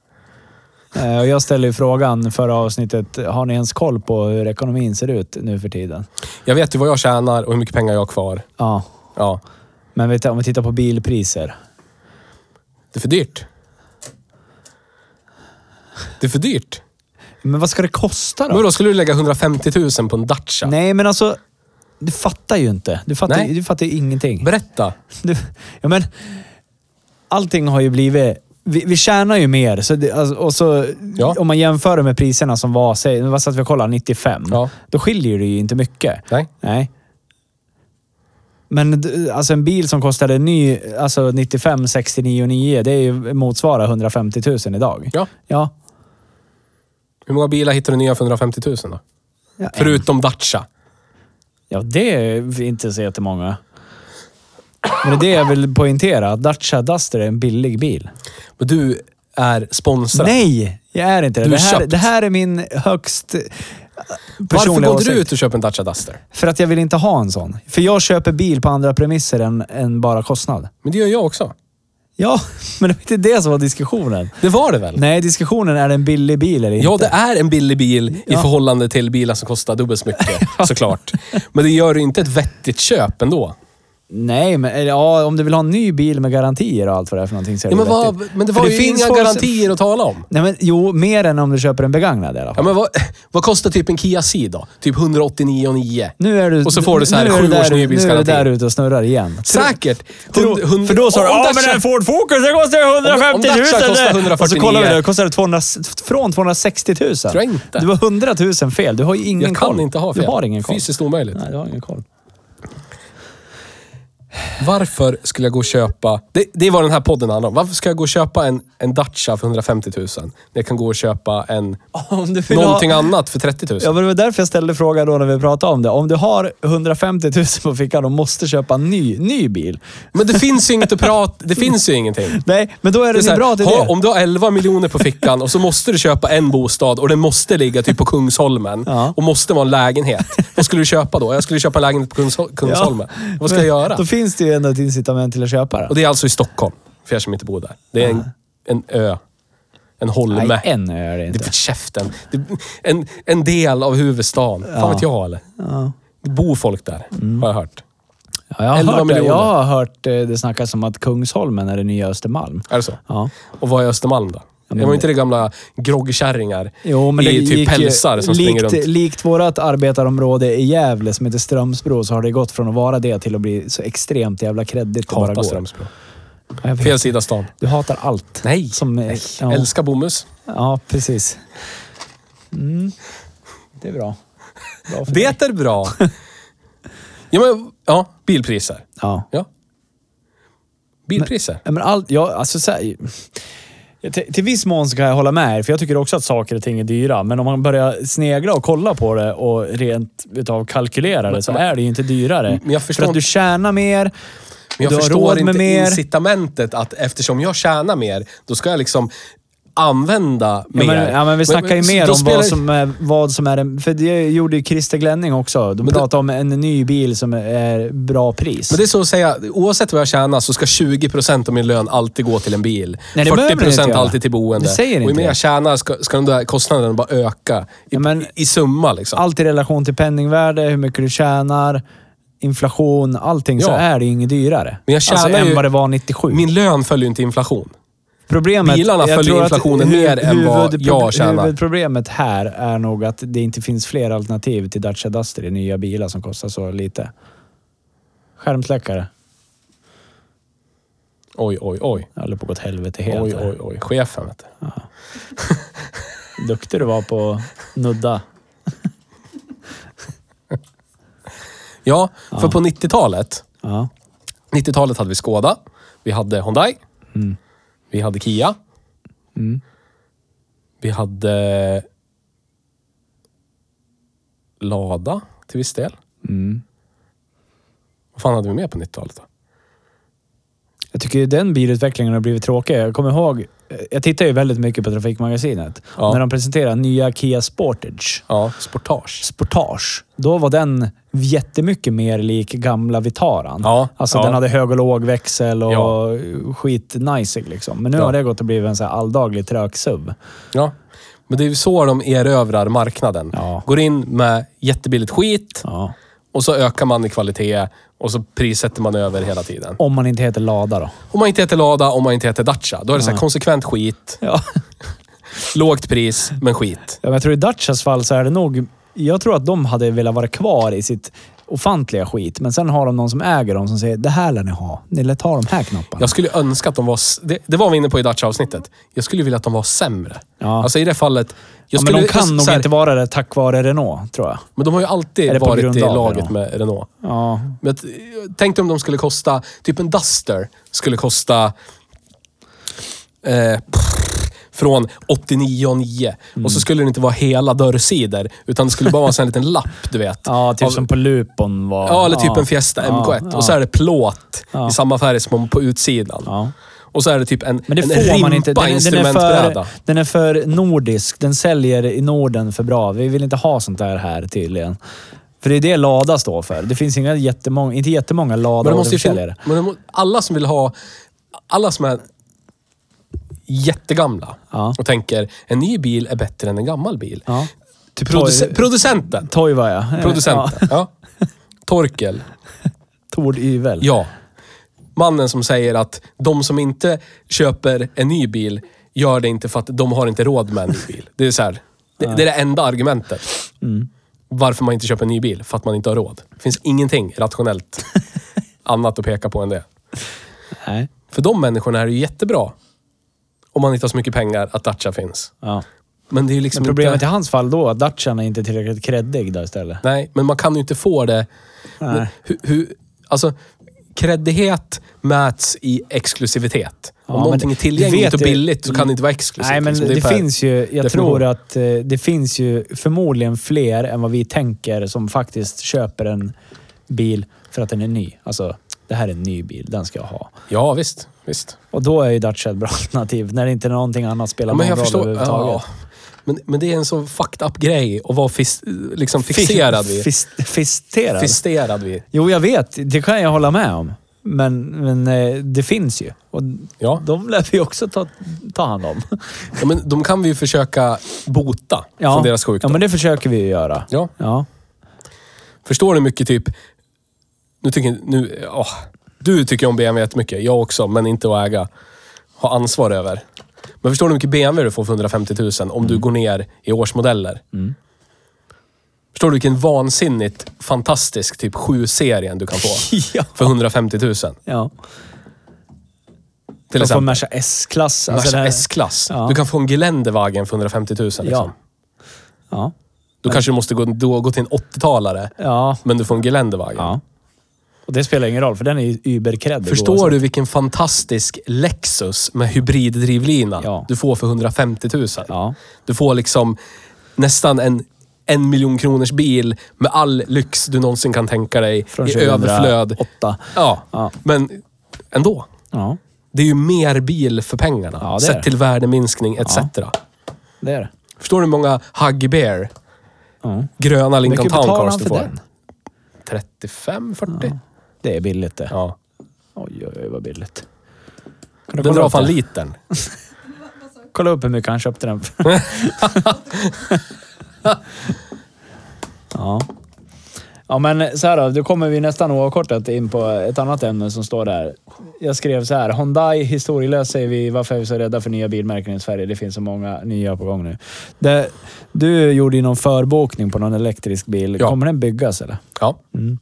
Speaker 2: Eh, Och jag ställde ju frågan förra avsnittet, har ni ens koll på hur ekonomin ser ut nu för tiden?
Speaker 4: Jag vet ju vad jag tjänar och hur mycket pengar jag har kvar.
Speaker 2: Ja,
Speaker 4: Ja.
Speaker 2: men vet du, om vi tittar på bilpriser.
Speaker 4: Det är för dyrt. Det är för dyrt.
Speaker 2: Men vad ska det kosta
Speaker 4: Men
Speaker 2: då?
Speaker 4: då skulle du lägga 150 000 på en Dacia?
Speaker 2: Nej, men alltså, du fattar ju inte. Du fattar,
Speaker 4: Nej.
Speaker 2: du fattar ju ingenting.
Speaker 4: Berätta.
Speaker 2: Du, ja, men, allting har ju blivit... Vi, vi tjänar ju mer. Så det, alltså, och så,
Speaker 4: Ja.
Speaker 2: Om man jämför det med priserna som var, säg, vad satt vi och kollade, 95.
Speaker 4: Ja.
Speaker 2: Då skiljer det ju inte mycket.
Speaker 4: Nej.
Speaker 2: Nej. Men d- alltså en bil som kostade ny, alltså 95, 69 9, det är ju motsvarar 150 000 idag.
Speaker 4: Ja.
Speaker 2: Ja.
Speaker 4: Hur många bilar hittar du nya för 150 000 då?
Speaker 2: Ja, en.
Speaker 4: Förutom Dacia.
Speaker 2: ja, det är inte så jättemånga. Men det är det jag vill poängtera, att Dacia Duster är en billig bil.
Speaker 4: Men du är sponsrad.
Speaker 2: Nej, jag är inte det.
Speaker 4: Du
Speaker 2: Det
Speaker 4: är
Speaker 2: här,
Speaker 4: köpt.
Speaker 2: det här är min högst eh,
Speaker 4: Varför
Speaker 2: personliga
Speaker 4: går du
Speaker 2: åsikt.
Speaker 4: ut och köper en Dacia Duster?
Speaker 2: För att jag vill inte ha en sån. För jag köper bil på andra premisser än, än bara kostnad.
Speaker 4: Men det gör jag också.
Speaker 2: Ja, men det var inte det som var diskussionen.
Speaker 4: Det var det väl?
Speaker 2: Nej, diskussionen är det en billig bil eller inte.
Speaker 4: Ja, det är en billig bil i
Speaker 2: Ja.
Speaker 4: förhållande till bilar som kostar dubbelt så mycket, såklart. Men det gör ju inte ett vettigt köp ändå.
Speaker 2: Nej, men eller, ja, om du vill ha en ny bil med garantier och allt vad det är för någonting så är
Speaker 4: Ja,
Speaker 2: det
Speaker 4: men, vad,
Speaker 2: vettigt.
Speaker 4: men det
Speaker 2: För
Speaker 4: var ju
Speaker 2: finns
Speaker 4: inga
Speaker 2: folk som-
Speaker 4: garantier att tala om.
Speaker 2: Nej, men jo, mer än om du köper en begagnad i alla
Speaker 4: Ja,
Speaker 2: fall.
Speaker 4: men vad, vad kostar typ en Kia Ceed då? Typ 189,9.
Speaker 2: Nu är du,
Speaker 4: Och så får du så här
Speaker 2: nu är
Speaker 4: sju
Speaker 2: där-
Speaker 4: års nybilsgaranti.
Speaker 2: Nu är du där ute och snurrar igen.
Speaker 4: Säkert!
Speaker 2: Tro,
Speaker 4: Hund- hund-
Speaker 2: för då sa du
Speaker 4: om
Speaker 2: ja
Speaker 4: Dacia-
Speaker 2: men en Ford Focus den kostar ju 150 000.
Speaker 4: Om- om Dacia kostar
Speaker 2: det."
Speaker 4: 149.
Speaker 2: Och så kollar vi det, kostar det 200, från 260 000.
Speaker 4: Tror jag inte.
Speaker 2: Du har 100 000 fel. Du har ju ingen
Speaker 4: Jag kan
Speaker 2: koll.
Speaker 4: inte ha fel.
Speaker 2: Du har ingen koll.
Speaker 4: Fysiskt omöjligt.
Speaker 2: Nej, du har ingen koll.
Speaker 4: Varför skulle jag gå och köpa... Det, det var den här podden handlar om. Varför ska jag gå och köpa en, en Dacia för 150 000? När jag kan gå och köpa en...
Speaker 2: Om du vill
Speaker 4: Någonting
Speaker 2: ha,
Speaker 4: annat för 30 000.
Speaker 2: Ja, men det var därför jag ställde frågan då när vi pratade om det. Om du har 150 000 på fickan och måste köpa en ny, ny bil.
Speaker 4: Men det finns ju inget att prata... Det finns ju ingenting.
Speaker 2: Nej, men då är det,
Speaker 4: Det är så
Speaker 2: en
Speaker 4: här,
Speaker 2: bra idé.
Speaker 4: ha, om du har 11 miljoner på fickan och så måste du köpa en bostad och den måste ligga typ på Kungsholmen
Speaker 2: Ja.
Speaker 4: och måste vara en lägenhet. Vad skulle du köpa då? Jag skulle köpa en lägenhet på Kungs- Kungsholmen. Vad ska jag göra?
Speaker 2: Då finns det ju ändå ett incitament till att köpa den.
Speaker 4: Och det är alltså i Stockholm, för er som inte bor där. Det är en, en ö. En holme.
Speaker 2: Nej, än är det
Speaker 4: Det är
Speaker 2: inte.
Speaker 4: för käften. Det är en, en del av huvudstaden. Fan vet jag eller? Det bor folk där,
Speaker 2: Mm.
Speaker 4: har jag hört.
Speaker 2: Ja, jag, har
Speaker 4: 11
Speaker 2: hört, det.
Speaker 4: miljoner.
Speaker 2: jag har hört eh, det snackas om att Kungsholmen är det nya Östermalm.
Speaker 4: Är det så?
Speaker 2: Ja.
Speaker 4: Och vad är Östermalm då?
Speaker 2: men
Speaker 4: det var
Speaker 2: det-
Speaker 4: inte det gamla groggkärringar
Speaker 2: Jo, men
Speaker 4: i
Speaker 2: det
Speaker 4: typ
Speaker 2: gick ju-
Speaker 4: pälsar som
Speaker 2: likt,
Speaker 4: springer runt.
Speaker 2: Likt vårt arbetarområde i Gävle som heter Strömsbro så har det gått från att vara det till att bli så extremt jävla kreddigt det bara
Speaker 4: Hatar
Speaker 2: går.
Speaker 4: Strömsbro.
Speaker 2: Ja, jag vet.
Speaker 4: Fel sida stan.
Speaker 2: Du hatar allt.
Speaker 4: Nej,
Speaker 2: Som, eh, ja.
Speaker 4: Älskar bomus.
Speaker 2: Ja, precis. Mm. Det är bra. bra för dig.
Speaker 4: Det är bra. ja, men, ja, bilpriser.
Speaker 2: Ja.
Speaker 4: Ja. Bilpriser.
Speaker 2: Nej, Men all, ja, alltså, så här, Till, till viss mån så kan jag hålla med er, för jag tycker också att saker och ting är dyra. Men om man börjar snegla och kolla på det och rent utav kalkylera det så är det ju inte dyrare.
Speaker 4: Men jag förstår
Speaker 2: för att du
Speaker 4: inte-
Speaker 2: tjänar mer,
Speaker 4: Men jag
Speaker 2: du har
Speaker 4: förstår
Speaker 2: råd
Speaker 4: inte
Speaker 2: med mer.
Speaker 4: incitamentet att eftersom jag tjänar mer, då ska jag liksom använda
Speaker 2: Ja,
Speaker 4: mer.
Speaker 2: men, ja, men vi snackar ju
Speaker 4: men
Speaker 2: mer
Speaker 4: då
Speaker 2: om
Speaker 4: spelar-
Speaker 2: vad, som är, vad som är... en- För det gjorde ju Christer Glenning också. De
Speaker 4: det-
Speaker 2: pratade om en ny bil som är bra pris.
Speaker 4: Men det är så att säga, oavsett vad jag tjänar så ska 20% av min lön alltid gå till en bil.
Speaker 2: Nej, det behöver den inte
Speaker 4: 40%
Speaker 2: göra.
Speaker 4: alltid till boende.
Speaker 2: Det säger
Speaker 4: och ju
Speaker 2: inte
Speaker 4: mer
Speaker 2: det.
Speaker 4: jag tjänar ska, ska de där kostnaderna bara öka. I,
Speaker 2: Ja, men-
Speaker 4: i, i summa liksom.
Speaker 2: Allt i relation till penningvärde, hur mycket du tjänar, inflation, allting så
Speaker 4: Ja.
Speaker 2: är det ju inget dyrare.
Speaker 4: Men jag tjänar
Speaker 2: alltså,
Speaker 4: ju-
Speaker 2: än vad det var 97.
Speaker 4: Min lön följer ju inte inflation.
Speaker 2: Problemet,
Speaker 4: Bilarna
Speaker 2: jag
Speaker 4: följer
Speaker 2: tror att
Speaker 4: inflationen
Speaker 2: hu-
Speaker 4: mer än vad
Speaker 2: huvudpro-
Speaker 4: jag tjänar.
Speaker 2: Huvudproblemet här är nog att det inte finns fler alternativ till Dacia Duster i nya bilar som kostar så lite. Skärmsläckare.
Speaker 4: Oj, oj, oj.
Speaker 2: Jag håller på att gå åt helvete helt.
Speaker 4: Oj,
Speaker 2: här.
Speaker 4: oj, oj. Chefen vet du.
Speaker 2: Duktig du var på att nudda.
Speaker 4: Ja, för på 90-talet.
Speaker 2: Ja.
Speaker 4: 90-talet hade vi Skoda. Vi hade Hyundai.
Speaker 2: Mm.
Speaker 4: Vi hade Kia. Vi hade Lada till viss del.
Speaker 2: Mm.
Speaker 4: Vad fan hade vi mer på 90-talet då?
Speaker 2: Jag tycker ju den bilutvecklingen har blivit tråkig. Jag kommer ihåg, eh, jag tittar ju väldigt mycket på Trafikmagasinet.
Speaker 4: Ja.
Speaker 2: När de presenterar nya Kia Sportage.
Speaker 4: Ja, Sportage.
Speaker 2: Sportage. Då var den jättemycket mer lik gamla Vitaran.
Speaker 4: Ja,
Speaker 2: alltså
Speaker 4: ja.
Speaker 2: den hade hög och låg växel och
Speaker 4: Ja.
Speaker 2: skitniceig liksom. Men nu
Speaker 4: Ja.
Speaker 2: har det gått och blivit en så här alldaglig tröksub.
Speaker 4: Ja. Men det är ju så de erövrar marknaden.
Speaker 2: Ja.
Speaker 4: Går in med jättebilligt skit
Speaker 2: Ja.
Speaker 4: och så ökar man i kvalitet och så prissätter man över hela tiden.
Speaker 2: Om man inte heter Lada då.
Speaker 4: Om man inte heter Lada, om man inte heter Dacia, då är det så här konsekvent skit,
Speaker 2: Ja.
Speaker 4: lågt pris, men skit.
Speaker 2: Ja, men jag tror i Dacias fall så är det nog... Jag tror att de hade velat vara kvar i sitt ofantliga skit, men sen har de någon som äger dem som säger det här lär ni ha. Ni lär ta de här knapparna.
Speaker 4: Jag skulle önska att de var... s- Det, det var vi inne på i Dutch-avsnittet. Jag skulle vilja att de var sämre.
Speaker 2: Ja.
Speaker 4: Alltså i det fallet... Jag
Speaker 2: ja, men de
Speaker 4: skulle- så
Speaker 2: kan nog
Speaker 4: här,
Speaker 2: inte vara det tack vare Renault, tror jag.
Speaker 4: Men de har ju
Speaker 2: Är
Speaker 4: alltid
Speaker 2: det på
Speaker 4: varit
Speaker 2: grund
Speaker 4: i
Speaker 2: av
Speaker 4: laget
Speaker 2: Renault?
Speaker 4: med Renault.
Speaker 2: Ja.
Speaker 4: Men t- tänk dig om de skulle kosta... Typ en Duster skulle kosta... Eh, pff, från 89,9.
Speaker 2: Mm.
Speaker 4: Och så skulle det inte vara hela dörrsidor. Utan det skulle bara vara en sån här liten lapp, du vet.
Speaker 2: Ja, typ
Speaker 4: Av-
Speaker 2: som på Lupon var.
Speaker 4: Ja, eller typ en Fiesta MK1.
Speaker 2: Ja,
Speaker 4: Och så är det plåt
Speaker 2: Ja.
Speaker 4: i samma färg som på utsidan.
Speaker 2: Ja.
Speaker 4: Och så är det typ en,
Speaker 2: Men det
Speaker 4: en
Speaker 2: får man
Speaker 4: rimpa
Speaker 2: inte. Den, den, är
Speaker 4: instrumentbräda.
Speaker 2: för, den är för nordisk. Den säljer i Norden för bra. Vi vill inte ha sånt där här tydligen. För det är det Lada står för. Det finns inga jättemånga, inte jättemånga
Speaker 4: Men
Speaker 2: Lada
Speaker 4: det måste ju fin-
Speaker 2: återförsäljare.
Speaker 4: men det må, alla som vill ha... Alla som är jättegamla
Speaker 2: Ja.
Speaker 4: och tänker en ny bil är bättre än en gammal bil.
Speaker 2: Ja. Typ
Speaker 4: Produce,
Speaker 2: Toy-
Speaker 4: producenten.
Speaker 2: Toiva ja. Ja.
Speaker 4: Producenten. Ja. Torkel.
Speaker 2: Tord Yvel.
Speaker 4: Ja. Mannen som säger att de som inte köper en ny bil gör det inte för att de har inte råd med en ny bil. Det är, så här, det, det, är det enda argumentet.
Speaker 2: Mm.
Speaker 4: Varför man inte köper en ny bil. För att man inte har råd. Det finns ingenting rationellt annat att peka på än det.
Speaker 2: Nej.
Speaker 4: För de människorna är det ju jättebra. Om man inte har så mycket pengar att Dacia finns.
Speaker 2: Ja.
Speaker 4: Men det är ju liksom
Speaker 2: Men problemet
Speaker 4: inte...
Speaker 2: i hans fall då, att Dacian är inte tillräckligt creddig där istället.
Speaker 4: Nej, men man kan ju inte få det...
Speaker 2: Nej.
Speaker 4: Hur, hur, alltså, kreddighet mäts i exklusivitet.
Speaker 2: Ja,
Speaker 4: Om
Speaker 2: men
Speaker 4: någonting är
Speaker 2: det- det
Speaker 4: tillgängligt
Speaker 2: vet
Speaker 4: och
Speaker 2: jag-
Speaker 4: billigt så kan det inte vara exklusivt.
Speaker 2: Nej, men
Speaker 4: liksom.
Speaker 2: det,
Speaker 4: är per
Speaker 2: finns ju... Jag
Speaker 4: definition.
Speaker 2: tror att eh, det finns ju förmodligen fler än vad vi tänker som faktiskt köper en bil för att den är ny. Alltså, det här är en ny bil. Den ska jag ha.
Speaker 4: Ja, visst. visst.
Speaker 2: Och då är ju Dacia ett bra alternativ. När inte någonting annat spelar
Speaker 4: Ja,
Speaker 2: någon
Speaker 4: men jag
Speaker 2: roll
Speaker 4: förstår. Ja,
Speaker 2: överhuvudtaget.
Speaker 4: men, men det är en så fucked up grej att vara fis, liksom fixerad vid.
Speaker 2: Fis, fisterad?
Speaker 4: Fisterad vid.
Speaker 2: Jo, jag vet. Det kan jag hålla med om. Men, men eh, det finns ju. Och
Speaker 4: Ja.
Speaker 2: de lär vi också ta, ta hand om.
Speaker 4: ja, men de kan vi ju försöka bota från deras sjukdom.
Speaker 2: Ja, men det försöker vi ju göra.
Speaker 4: Ja.
Speaker 2: Ja.
Speaker 4: Förstår du hur mycket typ... Nu tycker... Nu, åh, du tycker om BMW jättemycket. Jag också, men inte att äga. Ha ansvar över. Men förstår du hur mycket BMW du får för 150 000 om
Speaker 2: Mm.
Speaker 4: du går ner i årsmodeller? Förstår du vilken vansinnigt fantastisk typ 7-serien du kan få
Speaker 2: ja.
Speaker 4: för 150 000?
Speaker 2: ja.
Speaker 4: Till
Speaker 2: De får
Speaker 4: exempel.
Speaker 2: Merca S-klass. alltså
Speaker 4: Merca
Speaker 2: det här-
Speaker 4: S-klass.
Speaker 2: Ja.
Speaker 4: Du kan få en Geländewagen för 150 000. Liksom.
Speaker 2: Ja. Ja.
Speaker 4: Då kanske du måste gå, då, gå till en 80-talare,
Speaker 2: Ja.
Speaker 4: men du får en Geländewagen.
Speaker 2: ja. Och det spelar ingen roll, för den är ju überkredd.
Speaker 4: Förstår du vilken fantastisk Lexus med hybriddrivlina
Speaker 2: Ja.
Speaker 4: du får för 150 000?
Speaker 2: Ja.
Speaker 4: Du får liksom nästan en en miljon kronors bil med all lyx du någonsin kan tänka dig
Speaker 2: Från
Speaker 4: i överflöd.
Speaker 2: 2008.
Speaker 4: Ja,
Speaker 2: Ja.
Speaker 4: men ändå.
Speaker 2: Ja,
Speaker 4: Det är ju mer bil för pengarna.
Speaker 2: Ja, det är det.
Speaker 4: sett till värdeminskning etc.
Speaker 2: det är det.
Speaker 4: Förstår du hur många Huggy Bear,
Speaker 2: Ja.
Speaker 4: gröna
Speaker 2: Hur
Speaker 4: Lincoln
Speaker 2: mycket
Speaker 4: Town
Speaker 2: betalar
Speaker 4: Cars
Speaker 2: han
Speaker 4: du
Speaker 2: för
Speaker 4: får?
Speaker 2: den?
Speaker 4: 35, 40? Ja.
Speaker 2: Det är billigt det. Oj, oj, oj vad billigt. Kan du
Speaker 4: Den
Speaker 2: kolla
Speaker 4: drar
Speaker 2: upp
Speaker 4: fan
Speaker 2: det?
Speaker 4: litern.
Speaker 2: Kolla upp hur mycket han köpte den för. ja. Ja men så här då, då kommer vi nästan oavkortat in på ett annat ämne som står där. Jag skrev så här, Hyundai historielöst säger vi varför är vi så rädda för nya bilmärken i Sverige? Det finns så många nya på gång nu. Det, du gjorde ju någon förbokning på någon elektrisk bil.
Speaker 4: Ja.
Speaker 2: Kommer den byggas eller?
Speaker 4: Ja. De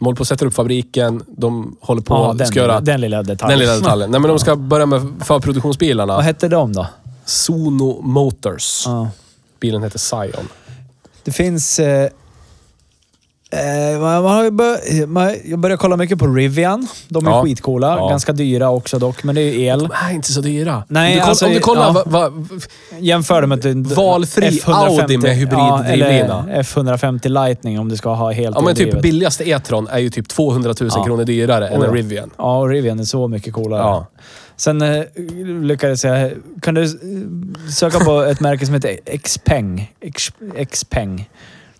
Speaker 4: håller på att sätta upp fabriken. De håller på
Speaker 2: Mm. Ja,
Speaker 4: att
Speaker 2: den,
Speaker 4: ska göra
Speaker 2: lilla, den lilla detaljen.
Speaker 4: den lilla detaljen. Nej, men de ska börja med
Speaker 2: Vad
Speaker 4: förproduktionsbilarna.
Speaker 2: hette de då?
Speaker 4: Sono Motors.
Speaker 2: Ja.
Speaker 4: Bilen heter Scion.
Speaker 2: Det finns... Eh, eh, man, man har ju bör, man, jag börjar kolla mycket på Rivian. De är
Speaker 4: Ja.
Speaker 2: skitcoola.
Speaker 4: Ja.
Speaker 2: Ganska dyra också dock, men det är ju el.
Speaker 4: De är inte så dyra.
Speaker 2: Nej,
Speaker 4: om, du koll,
Speaker 2: alltså,
Speaker 4: om du kollar
Speaker 2: ja.
Speaker 4: vad, vad,
Speaker 2: Jämför dem med en
Speaker 4: Valfri Audi med
Speaker 2: ja,
Speaker 4: hybriddrivlina.
Speaker 2: eller F150 Lightning om du ska ha helt
Speaker 4: Ja, men typ
Speaker 2: eldrivet.
Speaker 4: billigaste E-tron är ju typ 200 000
Speaker 2: Ja.
Speaker 4: kronor dyrare än
Speaker 2: Oh, ja.
Speaker 4: en Rivian.
Speaker 2: Ja, och Rivian är så mycket coolare.
Speaker 4: Ja.
Speaker 2: Sen eh, lyckades jag... Kan du eh, söka på ett märke som heter Xpeng? X- Xpeng.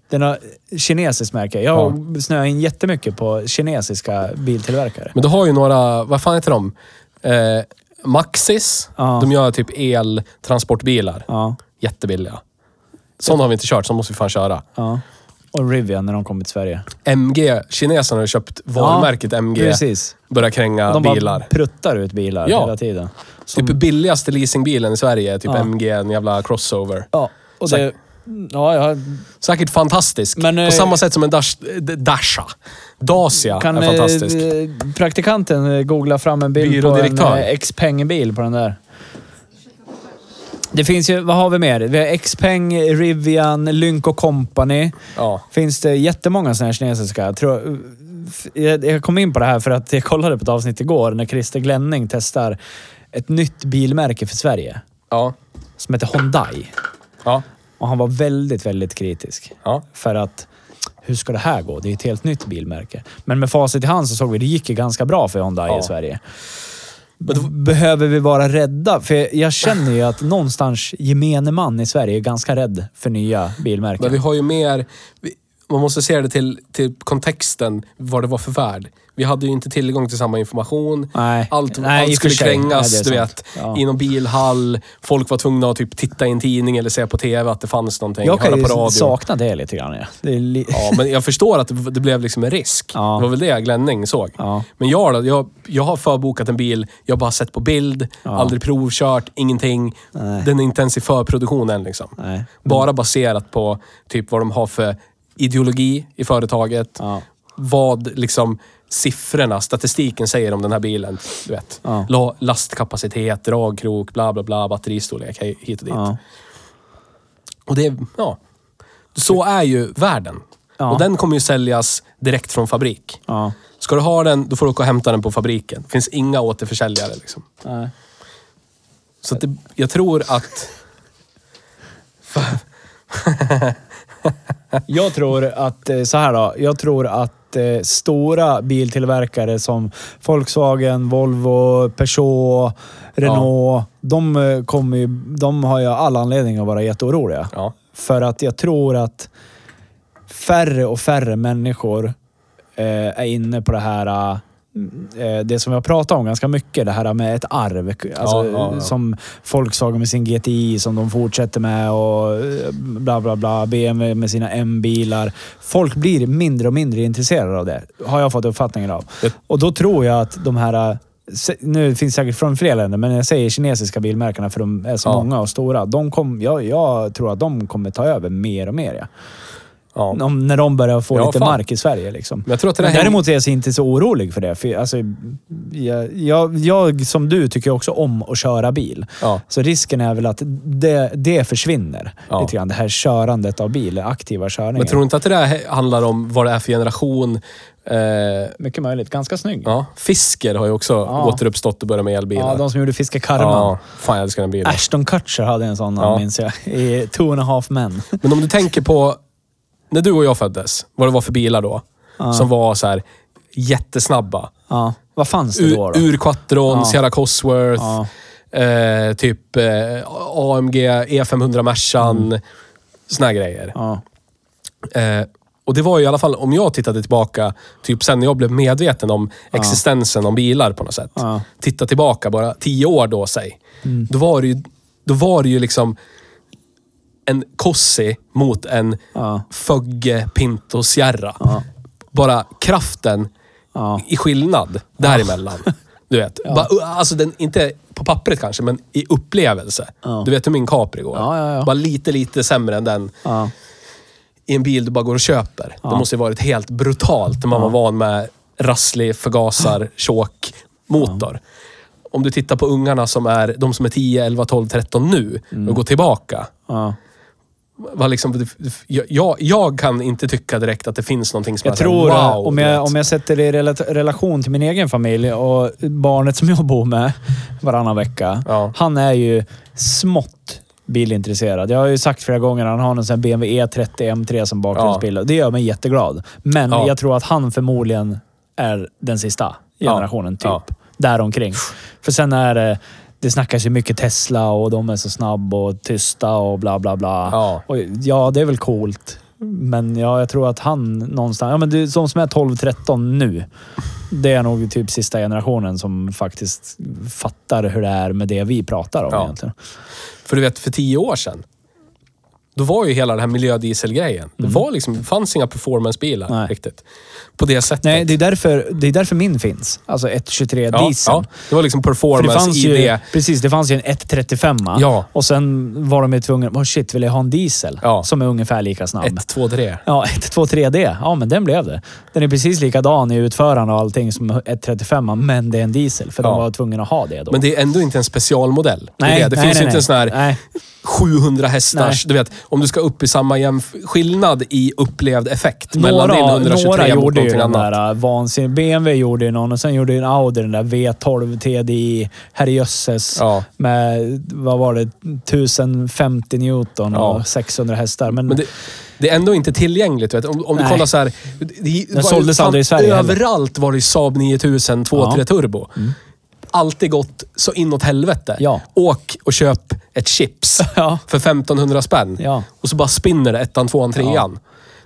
Speaker 2: Det är något kinesiskt märke. Jag har snöat in jättemycket på kinesiska biltillverkare.
Speaker 4: Men du har ju några, vad fan heter de? Eh, Maxis.
Speaker 2: Ja.
Speaker 4: De gör typ eltransportbilar.
Speaker 2: Ja,
Speaker 4: Jättebilliga. Sådana har vi inte kört, så måste vi fan köra.
Speaker 2: ja. Och Rivian när de kom till Sverige.
Speaker 4: MG, kineserna har ju köpt varumärket MG.
Speaker 2: Precis.
Speaker 4: Börjar kränga
Speaker 2: De
Speaker 4: bilar.
Speaker 2: bara pruttar ut bilar
Speaker 4: Ja.
Speaker 2: hela tiden. Som,
Speaker 4: Typ billigaste leasingbilen i Sverige, är typ
Speaker 2: Ja.
Speaker 4: MG, en jävla crossover.
Speaker 2: ja, och det, ja, ja,
Speaker 4: Säkert fantastisk.
Speaker 2: Men, eh,
Speaker 4: På samma sätt som en Dash, eh, Dasha. Dacia
Speaker 2: kan
Speaker 4: är
Speaker 2: eh,
Speaker 4: fantastisk.
Speaker 2: eh, praktikanten eh, googla fram en bild på en
Speaker 4: Byrådirektör.
Speaker 2: eh, Xpeng-bil på den där? Det finns ju, vad har vi mer? Vi har Xpeng, Rivian, Lynk Company.
Speaker 4: Ja.
Speaker 2: Finns det jättemånga sådana här kinesiska? Jag Tror, jag, jag kom in på det här för att jag kollade på ett avsnitt igår när Christer Glenning testar ett nytt bilmärke för Sverige.
Speaker 4: Ja.
Speaker 2: som heter Hyundai.
Speaker 4: Ja.
Speaker 2: Och han var väldigt, väldigt kritisk.
Speaker 4: Ja.
Speaker 2: För att, hur ska det här gå? Det är ett helt nytt bilmärke. Men med facit i hand så såg vi att det gick ju ganska bra för Hyundai
Speaker 4: Ja.
Speaker 2: i Sverige. Behöver vi vara rädda? För jag känner ju att någonstans gemene man i Sverige är ganska rädd för nya bilmärken.
Speaker 4: Men vi har ju mer... Vi, man måste se det till, till kontexten, vad det var för värld. Vi hade ju inte tillgång till samma information.
Speaker 2: Nej.
Speaker 4: Allt,
Speaker 2: Nej, i
Speaker 4: allt
Speaker 2: och
Speaker 4: skulle
Speaker 2: för sig.
Speaker 4: krängas,
Speaker 2: Nej, det
Speaker 4: du
Speaker 2: är sant.
Speaker 4: vet.
Speaker 2: Ja.
Speaker 4: I någon bilhall. Folk var tvungna att typ titta i en tidning eller se på TV att det fanns någonting.
Speaker 2: jag
Speaker 4: höra
Speaker 2: kan
Speaker 4: på
Speaker 2: ju
Speaker 4: radio.
Speaker 2: sakna det lite grann. Ja. Det är li-
Speaker 4: Ja, men jag förstår att det det blev liksom en risk.
Speaker 2: Ja.
Speaker 4: Det var väl det Glenning såg.
Speaker 2: Ja.
Speaker 4: Men jag då, jag, jag har förbokat en bil, jag har bara sett på bild, aldrig provkört, ingenting. Den är inte ens i förproduktion än liksom.
Speaker 2: Nej.
Speaker 4: Bara baserat på typ vad de har för ideologi i företaget.
Speaker 2: Ja.
Speaker 4: Vad liksom siffrorna, statistiken säger om den här bilen. Du vet.
Speaker 2: Ja.
Speaker 4: La- Lastkapacitet, dragkrok, bla bla bla, batteristorlek hej- hit och dit.
Speaker 2: Ja.
Speaker 4: Och det, är- ja. Så är ju världen.
Speaker 2: Ja.
Speaker 4: Och den kommer ju säljas direkt från fabrik.
Speaker 2: Ja.
Speaker 4: Ska du ha den, då får du åka och hämta den på fabriken. Det finns inga återförsäljare liksom.
Speaker 2: Nej.
Speaker 4: Så att det, jag tror att...
Speaker 2: Jag tror att, eh, så här då, jag tror att eh, stora biltillverkare som Volkswagen, Volvo, Peugeot, Renault. De, eh, kommer ju, de har ju all anledning att vara jätteoroliga.
Speaker 4: Ja.
Speaker 2: För att jag tror att färre och färre människor eh, är inne på det här eh, det som vi har pratat om ganska mycket, det här med ett arv. Alltså,
Speaker 4: Ja, ja, ja.
Speaker 2: Som Volkswagen med sin GTI som de fortsätter med och eh, bla bla bla. BMW med sina M-bilar. Folk blir mindre och mindre intresserade av det, har jag fått uppfattningen av.
Speaker 4: Det-
Speaker 2: Och då tror jag att de här eh, se- nu finns det säkert från fler länder, men jag säger kinesiska bilmärkena för de är så
Speaker 4: Ja.
Speaker 2: många och stora. De kom, jag, jag tror att de kommer ta över mer och mer. Ja.
Speaker 4: Ja.
Speaker 2: Om, när de börjar få
Speaker 4: Ja,
Speaker 2: lite
Speaker 4: fan.
Speaker 2: mark i Sverige. Liksom.
Speaker 4: Men jag tror att det där
Speaker 2: Men däremot är jag så inte så orolig för det. För, alltså, jag, jag, jag, som du, tycker också om att köra bil.
Speaker 4: Ja.
Speaker 2: Så risken är väl att det, det försvinner.
Speaker 4: Ja.
Speaker 2: Lite grann, det här körandet av bil, aktiva körningen.
Speaker 4: Men tror du inte att det där he- handlar om vad det är för generation? Eh,
Speaker 2: Mycket möjligt. Ganska snygg.
Speaker 4: ja. Fisker har ju också återuppstått och börjat med elbilar.
Speaker 2: Ja, de Äh. som gjorde Fiska Karma.
Speaker 4: Ja, fan jag älskar den bilen.
Speaker 2: Ashton Kutcher hade en sån,
Speaker 4: Ja.
Speaker 2: minns jag. I Two and a half men.
Speaker 4: Men om du tänker på när du och jag föddes, vad det var för bilar då. Som var så här jättesnabba.
Speaker 2: Ja. Vad fanns det då?
Speaker 4: Ur,
Speaker 2: då?
Speaker 4: ur Quattron,
Speaker 2: Ja.
Speaker 4: Sierra Cosworth,
Speaker 2: Ja.
Speaker 4: eh, typ eh, AMG E500 Mercan. E Såna här grejer.
Speaker 2: Mm. Ja.
Speaker 4: Eh, och det var ju i alla fall, om jag tittade tillbaka, typ sen när jag blev medveten om existensen om bilar på något sätt.
Speaker 2: Ja. Mm.
Speaker 4: Titta tillbaka bara tio år då, säg. Då, var det ju, då var det ju liksom en Kossi mot en
Speaker 2: Ja.
Speaker 4: Fögge Pinto Sierra. Bara kraften
Speaker 2: Ja.
Speaker 4: i skillnad däremellan. Du vet, bara, uh, alltså den, inte på pappret kanske, men i upplevelse. Du vet hur min Capri går.
Speaker 2: Ja, ja, ja.
Speaker 4: Bara lite, lite sämre än den
Speaker 2: Ja.
Speaker 4: i en bil du bara går och köper. Det måste ju varit helt brutalt när man var van med rasslig förgasar, tjock motor. Om du tittar på ungarna som är de som är 10, 11, 12, 13 nu
Speaker 2: Mm.
Speaker 4: och går tillbaka.
Speaker 2: Ja.
Speaker 4: Vad liksom, jag, jag kan inte tycka direkt att det finns någonting som
Speaker 2: Jag
Speaker 4: är så här,
Speaker 2: tror, eh,
Speaker 4: wow,
Speaker 2: om,
Speaker 4: du
Speaker 2: jag,
Speaker 4: vet.
Speaker 2: om jag sätter det i rela- relation till min egen familj och barnet som jag bor med varannan vecka.
Speaker 4: Ja.
Speaker 2: Han är ju smått bilintresserad. Jag har ju sagt flera gånger att han har en sån här BMW E30 M3 som bakgrundsbil. Det gör mig jätteglad. Men
Speaker 4: Ja.
Speaker 2: jag tror att han förmodligen är den sista generationen,
Speaker 4: Ja.
Speaker 2: typ. Däromkring. För sen är det... Det snackas ju mycket Tesla och de är så snabba och tysta och bla bla bla.
Speaker 4: Ja.
Speaker 2: Och, ja, det är väl coolt. Men ja, jag tror att han någonstans... Ja, men du, de som är 12-13 nu. Det är nog typ sista generationen som faktiskt fattar hur det är med det vi pratar om
Speaker 4: Ja.
Speaker 2: egentligen.
Speaker 4: För du vet, för tio år sedan. Då var ju hela den här miljödieselgrejen. Det var liksom, det fanns inga performancebilar
Speaker 2: Mm. Nej.
Speaker 4: riktigt. På det sättet.
Speaker 2: Nej, det är därför, det är därför min finns. Alltså 123
Speaker 4: ja,
Speaker 2: diesel.
Speaker 4: ja, det var liksom
Speaker 2: För det
Speaker 4: performance
Speaker 2: fanns
Speaker 4: i
Speaker 2: ju,
Speaker 4: det.
Speaker 2: precis, det fanns ju en 135
Speaker 4: Ja.
Speaker 2: och sen var de ju tvungna... Oh shit, vill jag ha en diesel?
Speaker 4: Ja.
Speaker 2: Som är ungefär lika snabb.
Speaker 4: Ett, två, tre.
Speaker 2: Ja, 123D. Ja, men den blev det. Den är precis likadan i utförande och allting som 135 men det är en diesel. För
Speaker 4: Ja.
Speaker 2: de var tvungna att ha det då.
Speaker 4: Men det är ändå inte en specialmodell. Det är det. det finns ju inte en sån här
Speaker 2: Nej.
Speaker 4: 700 hästars...
Speaker 2: Nej.
Speaker 4: Du vet, om du ska upp i samma jämf- skillnad i upplevd effekt mellan din
Speaker 2: Några,
Speaker 4: 123
Speaker 2: några
Speaker 4: mot
Speaker 2: gjorde ju
Speaker 4: någonting
Speaker 2: den
Speaker 4: annat.
Speaker 2: där eh, vansinniga... BMW gjorde ju någon och sen gjorde ju en Audi den där V12 TDI, herrejösses,
Speaker 4: Ja.
Speaker 2: med, vad var det, 1050 Newton
Speaker 4: Ja.
Speaker 2: och 600 hästar. Men,
Speaker 4: Men det, det är ändå inte tillgängligt. Vet. du. Om, om
Speaker 2: Mm.
Speaker 4: du
Speaker 2: Nej.
Speaker 4: kollar så här... Det, det, var ju
Speaker 2: såldes
Speaker 4: fan
Speaker 2: aldrig i Sverige heller.
Speaker 4: Överallt var det ju Saab 9000 2-3
Speaker 2: Ja. Mm.
Speaker 4: turbo. Alltid gått så inåt helvete.
Speaker 2: Ja.
Speaker 4: Åk och köp ett chips
Speaker 2: Ja.
Speaker 4: för 1500 spänn.
Speaker 2: Ja.
Speaker 4: Och så bara spinner det ettan, tvåan, trean.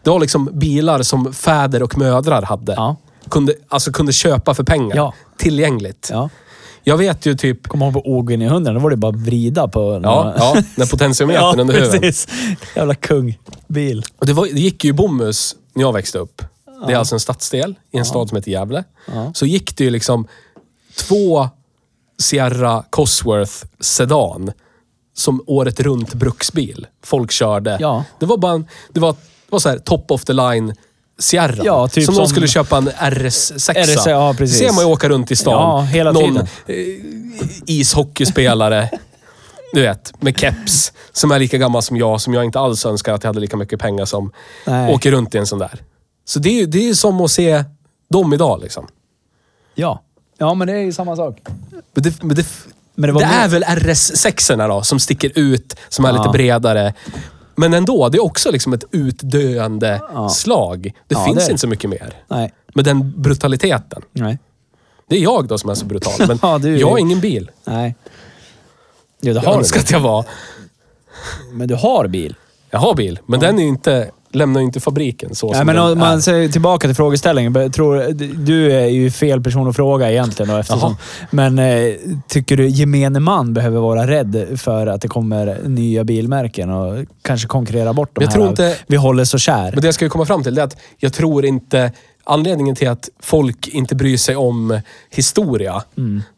Speaker 4: Det var liksom bilar som fäder och mödrar hade.
Speaker 2: Ja.
Speaker 4: Kunde, alltså kunde köpa för pengar.
Speaker 2: Ja.
Speaker 4: Tillgängligt.
Speaker 2: ja.
Speaker 4: Jag vet ju typ...
Speaker 2: Kommer ihåg på Ogin i 100, då var det bara att vrida på...
Speaker 4: Ja, ja när potentiometern under huven.
Speaker 2: precis. Jävla kungbil.
Speaker 4: Och det, var, det gick ju i Bomhus när jag växte upp. Det är alltså en stadsdel i en stad som heter Gävle. Så gick det ju liksom två Sierra Cosworth Sedan som året runt bruksbil. Folk körde.
Speaker 2: Ja.
Speaker 4: Det var bara en, det var, det var så här top of the line Sierra.
Speaker 2: Ja, typ
Speaker 4: som någon
Speaker 2: som-
Speaker 4: skulle köpa en RS6.
Speaker 2: RS, ja, precis.
Speaker 4: ser man ju åka runt i stan.
Speaker 2: Ja, hela
Speaker 4: någon
Speaker 2: tiden.
Speaker 4: eh, ishockeyspelare du vet, med keps. Som är lika gammal som jag, som jag inte alls önskar att jag hade lika mycket pengar som.
Speaker 2: Nej.
Speaker 4: Åker runt i en sån där. Så det är ju det är ju som att se dem idag liksom.
Speaker 2: Ja. Ja, men det är ju samma sak.
Speaker 4: Men det, men det,
Speaker 2: Men det
Speaker 4: det,
Speaker 2: var mer-
Speaker 4: är väl RS6 erna då, som sticker ut, som är lite
Speaker 2: Ja.
Speaker 4: bredare. Men ändå, det är också liksom ett utdöende
Speaker 2: Ja.
Speaker 4: slag. Det
Speaker 2: Ja,
Speaker 4: finns
Speaker 2: det är det.
Speaker 4: inte så mycket mer.
Speaker 2: Nej.
Speaker 4: Med den brutaliteten.
Speaker 2: Nej.
Speaker 4: Det är jag då som är så brutal. Men
Speaker 2: Ja, du är
Speaker 4: jag har
Speaker 2: ju-
Speaker 4: ingen bil.
Speaker 2: Nej. Jo, det
Speaker 4: Jag
Speaker 2: har
Speaker 4: önskar
Speaker 2: du.
Speaker 4: att jag var.
Speaker 2: Men du har bil.
Speaker 4: Jag har bil, men den är ju inte, lämnar ju inte fabriken så
Speaker 2: Nej,
Speaker 4: som
Speaker 2: men
Speaker 4: den
Speaker 2: om
Speaker 4: är.
Speaker 2: man ser tillbaka till frågeställningen. men Tror, du är ju fel person att fråga egentligen. Då, eftersom, men eh, tycker du gemene man behöver vara rädd för att det kommer nya bilmärken och kanske konkurrera bort de
Speaker 4: Men jag
Speaker 2: här?
Speaker 4: tror inte-
Speaker 2: Vi håller så kär.
Speaker 4: Men det jag ska ju komma fram till det är att jag tror inte... Anledningen till att
Speaker 2: Mm.
Speaker 4: folk inte bryr sig om historia,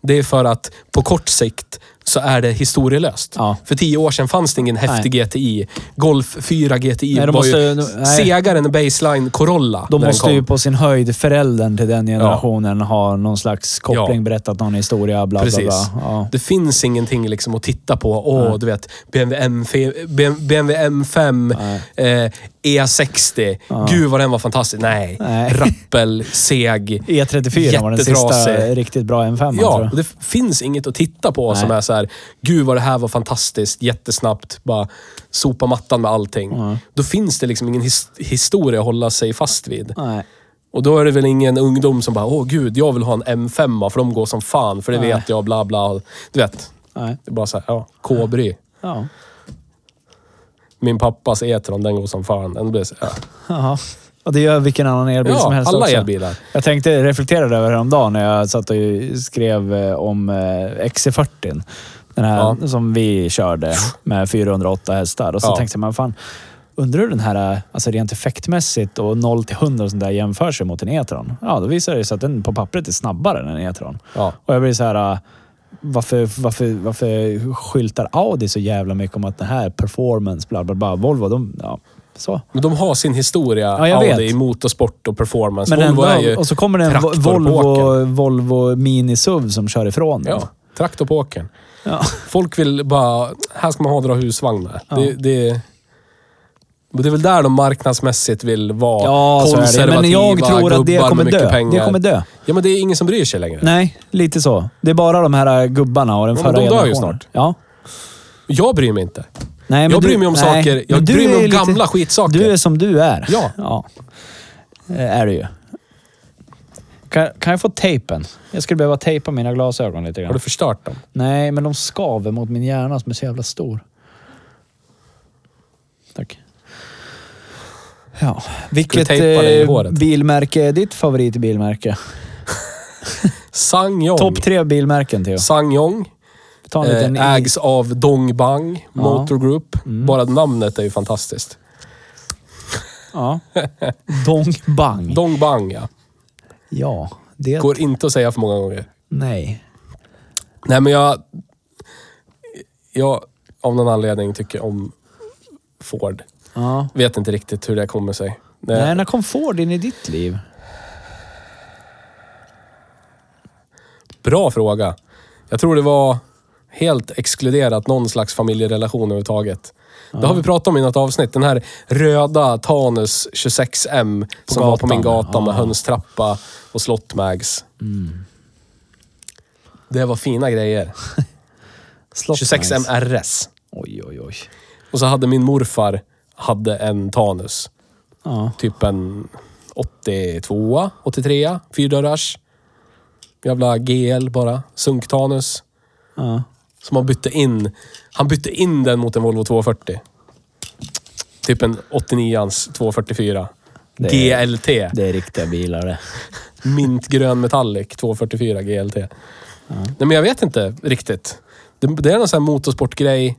Speaker 4: det är för att på kort sikt så är det historielöst.
Speaker 2: Ja.
Speaker 4: För tio år sedan fanns det ingen häftig GTI. Golf 4 GTI
Speaker 2: Nej, de
Speaker 4: var ju
Speaker 2: måste- nej.
Speaker 4: segare än Baseline Corolla
Speaker 2: De
Speaker 4: när den
Speaker 2: måste
Speaker 4: kom.
Speaker 2: ju på sin höjd föräldern till den generationen ha någon slags koppling,
Speaker 4: Ja.
Speaker 2: berättat någon historia, bla bla bla.
Speaker 4: Precis.
Speaker 2: Ja.
Speaker 4: Det finns ingenting liksom att titta på. Åh, du vet, BMW, M5, BMW M5 eh, E60. Gud vad den var fantastisk. Nej,
Speaker 2: Nej. E
Speaker 4: rappel, seg.
Speaker 2: E34 var den sista
Speaker 4: Jättetrasig.
Speaker 2: riktigt bra M5. tror
Speaker 4: Ja,
Speaker 2: jag.
Speaker 4: det finns inget att titta på som
Speaker 2: Nej.
Speaker 4: är så här, gud vad det här var fantastiskt, jättesnabbt, bara sopa mattan med allting. Då finns det liksom ingen his historia att hålla sig fast vid.
Speaker 2: Nej.
Speaker 4: Och då är det väl ingen ungdom som bara, åh gud, jag vill ha en M5 för de går som fan, för det
Speaker 2: Nej.
Speaker 4: vet jag, bla bla. Du vet,
Speaker 2: Nej.
Speaker 4: det är bara så här, ja, kobry.
Speaker 2: Ja.
Speaker 4: Min pappas E-tron, den går som fan. Den blir så, ja.
Speaker 2: Jaha. Och det gör vilken annan elbil
Speaker 4: Ja,
Speaker 2: som helst
Speaker 4: alla
Speaker 2: också.
Speaker 4: elbilar.
Speaker 2: Jag tänkte reflektera över häromdagen när jag satt och skrev eh, om eh, XC40. Den här
Speaker 4: Ja.
Speaker 2: som vi körde med 408 hästar. Och så
Speaker 4: Ja.
Speaker 2: tänkte jag, men fan, undrar hur den här, eh, alltså rent effektmässigt och 0 till 100 och sånt där jämför sig mot en E-tron? Ja, då visar det sig att den på pappret är snabbare än en E E-tron.
Speaker 4: Ja.
Speaker 2: Och jag blir så här, eh, varför, varför, varför skyltar Audi så jävla mycket om att den här performance, bla bla bla. Volvo, de, ja, så.
Speaker 4: Men de har sin historia,
Speaker 2: Ja, jag
Speaker 4: Audi,
Speaker 2: vet.
Speaker 4: i motorsport och performance.
Speaker 2: Men
Speaker 4: Volvo
Speaker 2: ändå,
Speaker 4: är ju
Speaker 2: och så kommer det en Vo-
Speaker 4: traktor på åkern.
Speaker 2: Volvo, Volvo Mini SUV som kör ifrån Alltså. den.
Speaker 4: Ja, traktor på åkern.
Speaker 2: Ja.
Speaker 4: Folk vill bara, här ska man ha dra husvagnar. Det, det, och det är väl där de marknadsmässigt vill vara
Speaker 2: Ja, så är det.
Speaker 4: konservativa
Speaker 2: Men jag tror att det
Speaker 4: gubbar med
Speaker 2: kommer
Speaker 4: mycket
Speaker 2: dö.
Speaker 4: Pengar.
Speaker 2: Det kommer dö.
Speaker 4: Ja, men det är ingen som bryr sig längre.
Speaker 2: Nej, lite så. Det är bara de här äh, gubbarna och den
Speaker 4: Ja, men
Speaker 2: förra
Speaker 4: de dör ju
Speaker 2: generationen.
Speaker 4: snart.
Speaker 2: Ja.
Speaker 4: Jag bryr mig inte.
Speaker 2: Nej, men
Speaker 4: Jag
Speaker 2: du-
Speaker 4: bryr mig om
Speaker 2: nej,
Speaker 4: saker. Jag
Speaker 2: men du
Speaker 4: bryr mig
Speaker 2: är
Speaker 4: om
Speaker 2: lite-
Speaker 4: gamla skitsaker.
Speaker 2: Du är som du är.
Speaker 4: Ja.
Speaker 2: Eh, Är du ju. Kan, kan jag få tejpen? Jag skulle behöva tejpa mina glasögon lite
Speaker 4: Har
Speaker 2: grann.
Speaker 4: du förstört dem?
Speaker 2: Nej, men de skaver mot min hjärna som är så jävla stor. Tack. Ja. Vilket
Speaker 4: tejpa dig i
Speaker 2: eh,
Speaker 4: håret.
Speaker 2: bilmärke är ditt favoritbilmärke?
Speaker 4: Sangyong.
Speaker 2: Topp tre bilmärken, Theo.
Speaker 4: Sangyong.
Speaker 2: Ta en liten...
Speaker 4: Eh,
Speaker 2: i-
Speaker 4: ägs av Dongbang Motor Group.
Speaker 2: Mm.
Speaker 4: Bara namnet är ju fantastiskt.
Speaker 2: Ja. Dong Bang.
Speaker 4: Dongbang, ja.
Speaker 2: Ja, det...
Speaker 4: Går inte att säga för många gånger.
Speaker 2: Nej.
Speaker 4: Nej, men jag... Jag, av någon anledning, tycker om Ford.
Speaker 2: Ja.
Speaker 4: Vet inte riktigt hur det kommer sig. Nej.
Speaker 2: Nej, när kom Ford in i ditt liv?
Speaker 4: Bra fråga. Jag tror det var helt exkluderat någon slags familjerelation överhuvudtaget. Det har vi pratat om i något avsnitt. Den här röda Tanus 26M som var på
Speaker 2: gatan,
Speaker 4: min gata med
Speaker 2: ja.
Speaker 4: hönstrappa och slottmags. Det var fina grejer.
Speaker 2: Slott
Speaker 4: 26M
Speaker 2: Nice.
Speaker 4: RS.
Speaker 2: Oj, oj, oj.
Speaker 4: Och så hade min morfar hade en Tanus.
Speaker 2: Ja.
Speaker 4: Typ en 82, 83, fyrdörrars. Jävla GL bara. Sunk-Tanus.
Speaker 2: ja.
Speaker 4: Som han bytte in. Han bytte in den mot en Volvo 240. Typ en 89ans 244.
Speaker 2: Det är-
Speaker 4: GLT.
Speaker 2: Det är riktiga bilar det.
Speaker 4: Mintgrön metallic 244 GLT. Nej, men jag vet inte riktigt. Det, det är någon sån här motorsportgrej.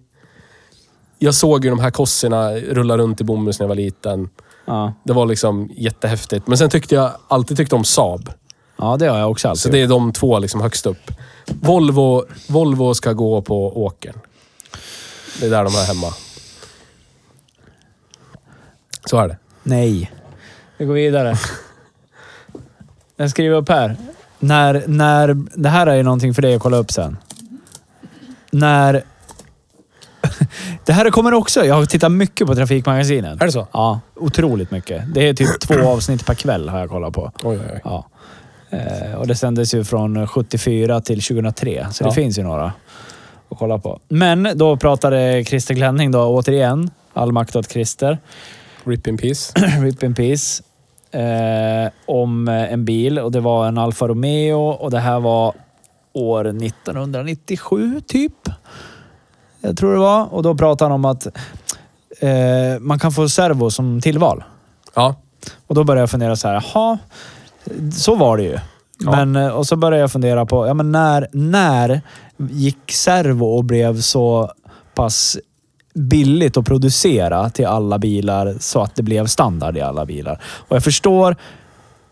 Speaker 4: Jag såg ju de här kossorna rulla runt i Bomhus när jag var liten.
Speaker 2: Ja.
Speaker 4: Det var liksom jättehäftigt. Men sen tyckte jag alltid tyckte om Saab.
Speaker 2: ja, det har jag också alltid
Speaker 4: Så det är de två liksom högst upp. Volvo, Volvo ska gå på åkern. Det är där de är hemma. Så är det.
Speaker 2: Nej. Vi går vidare. Jag skriver upp här. När, när, det här är ju någonting för dig att kolla upp sen. När... Det här kommer också. Jag har tittat mycket på Trafikmagasinet.
Speaker 4: Är det så?
Speaker 2: Ja, otroligt mycket. Det är typ två avsnitt per kväll har jag kollat på.
Speaker 4: Oj, oj, oj.
Speaker 2: Ja. Eh, och det sändes ju från 74 till 2003, så det
Speaker 4: Ja.
Speaker 2: finns ju några att kolla på. Men då pratade Christer Klänning då återigen. All makt åt Christer.
Speaker 4: Rip in peace.
Speaker 2: RIP in peace. Eh, om eh, en bil och det var en Alfa Romeo och det här var år 1997 typ. Jag tror det var. Och då pratade han om att eh, man kan få servo som tillval.
Speaker 4: Ja.
Speaker 2: Och då började jag fundera så här, jaha, så var det ju.
Speaker 4: Ja.
Speaker 2: Men, eh, och så började jag fundera på, ja men när, när gick servo och blev så pass billigt att producera till alla bilar så att det blev standard i alla bilar? Och jag förstår,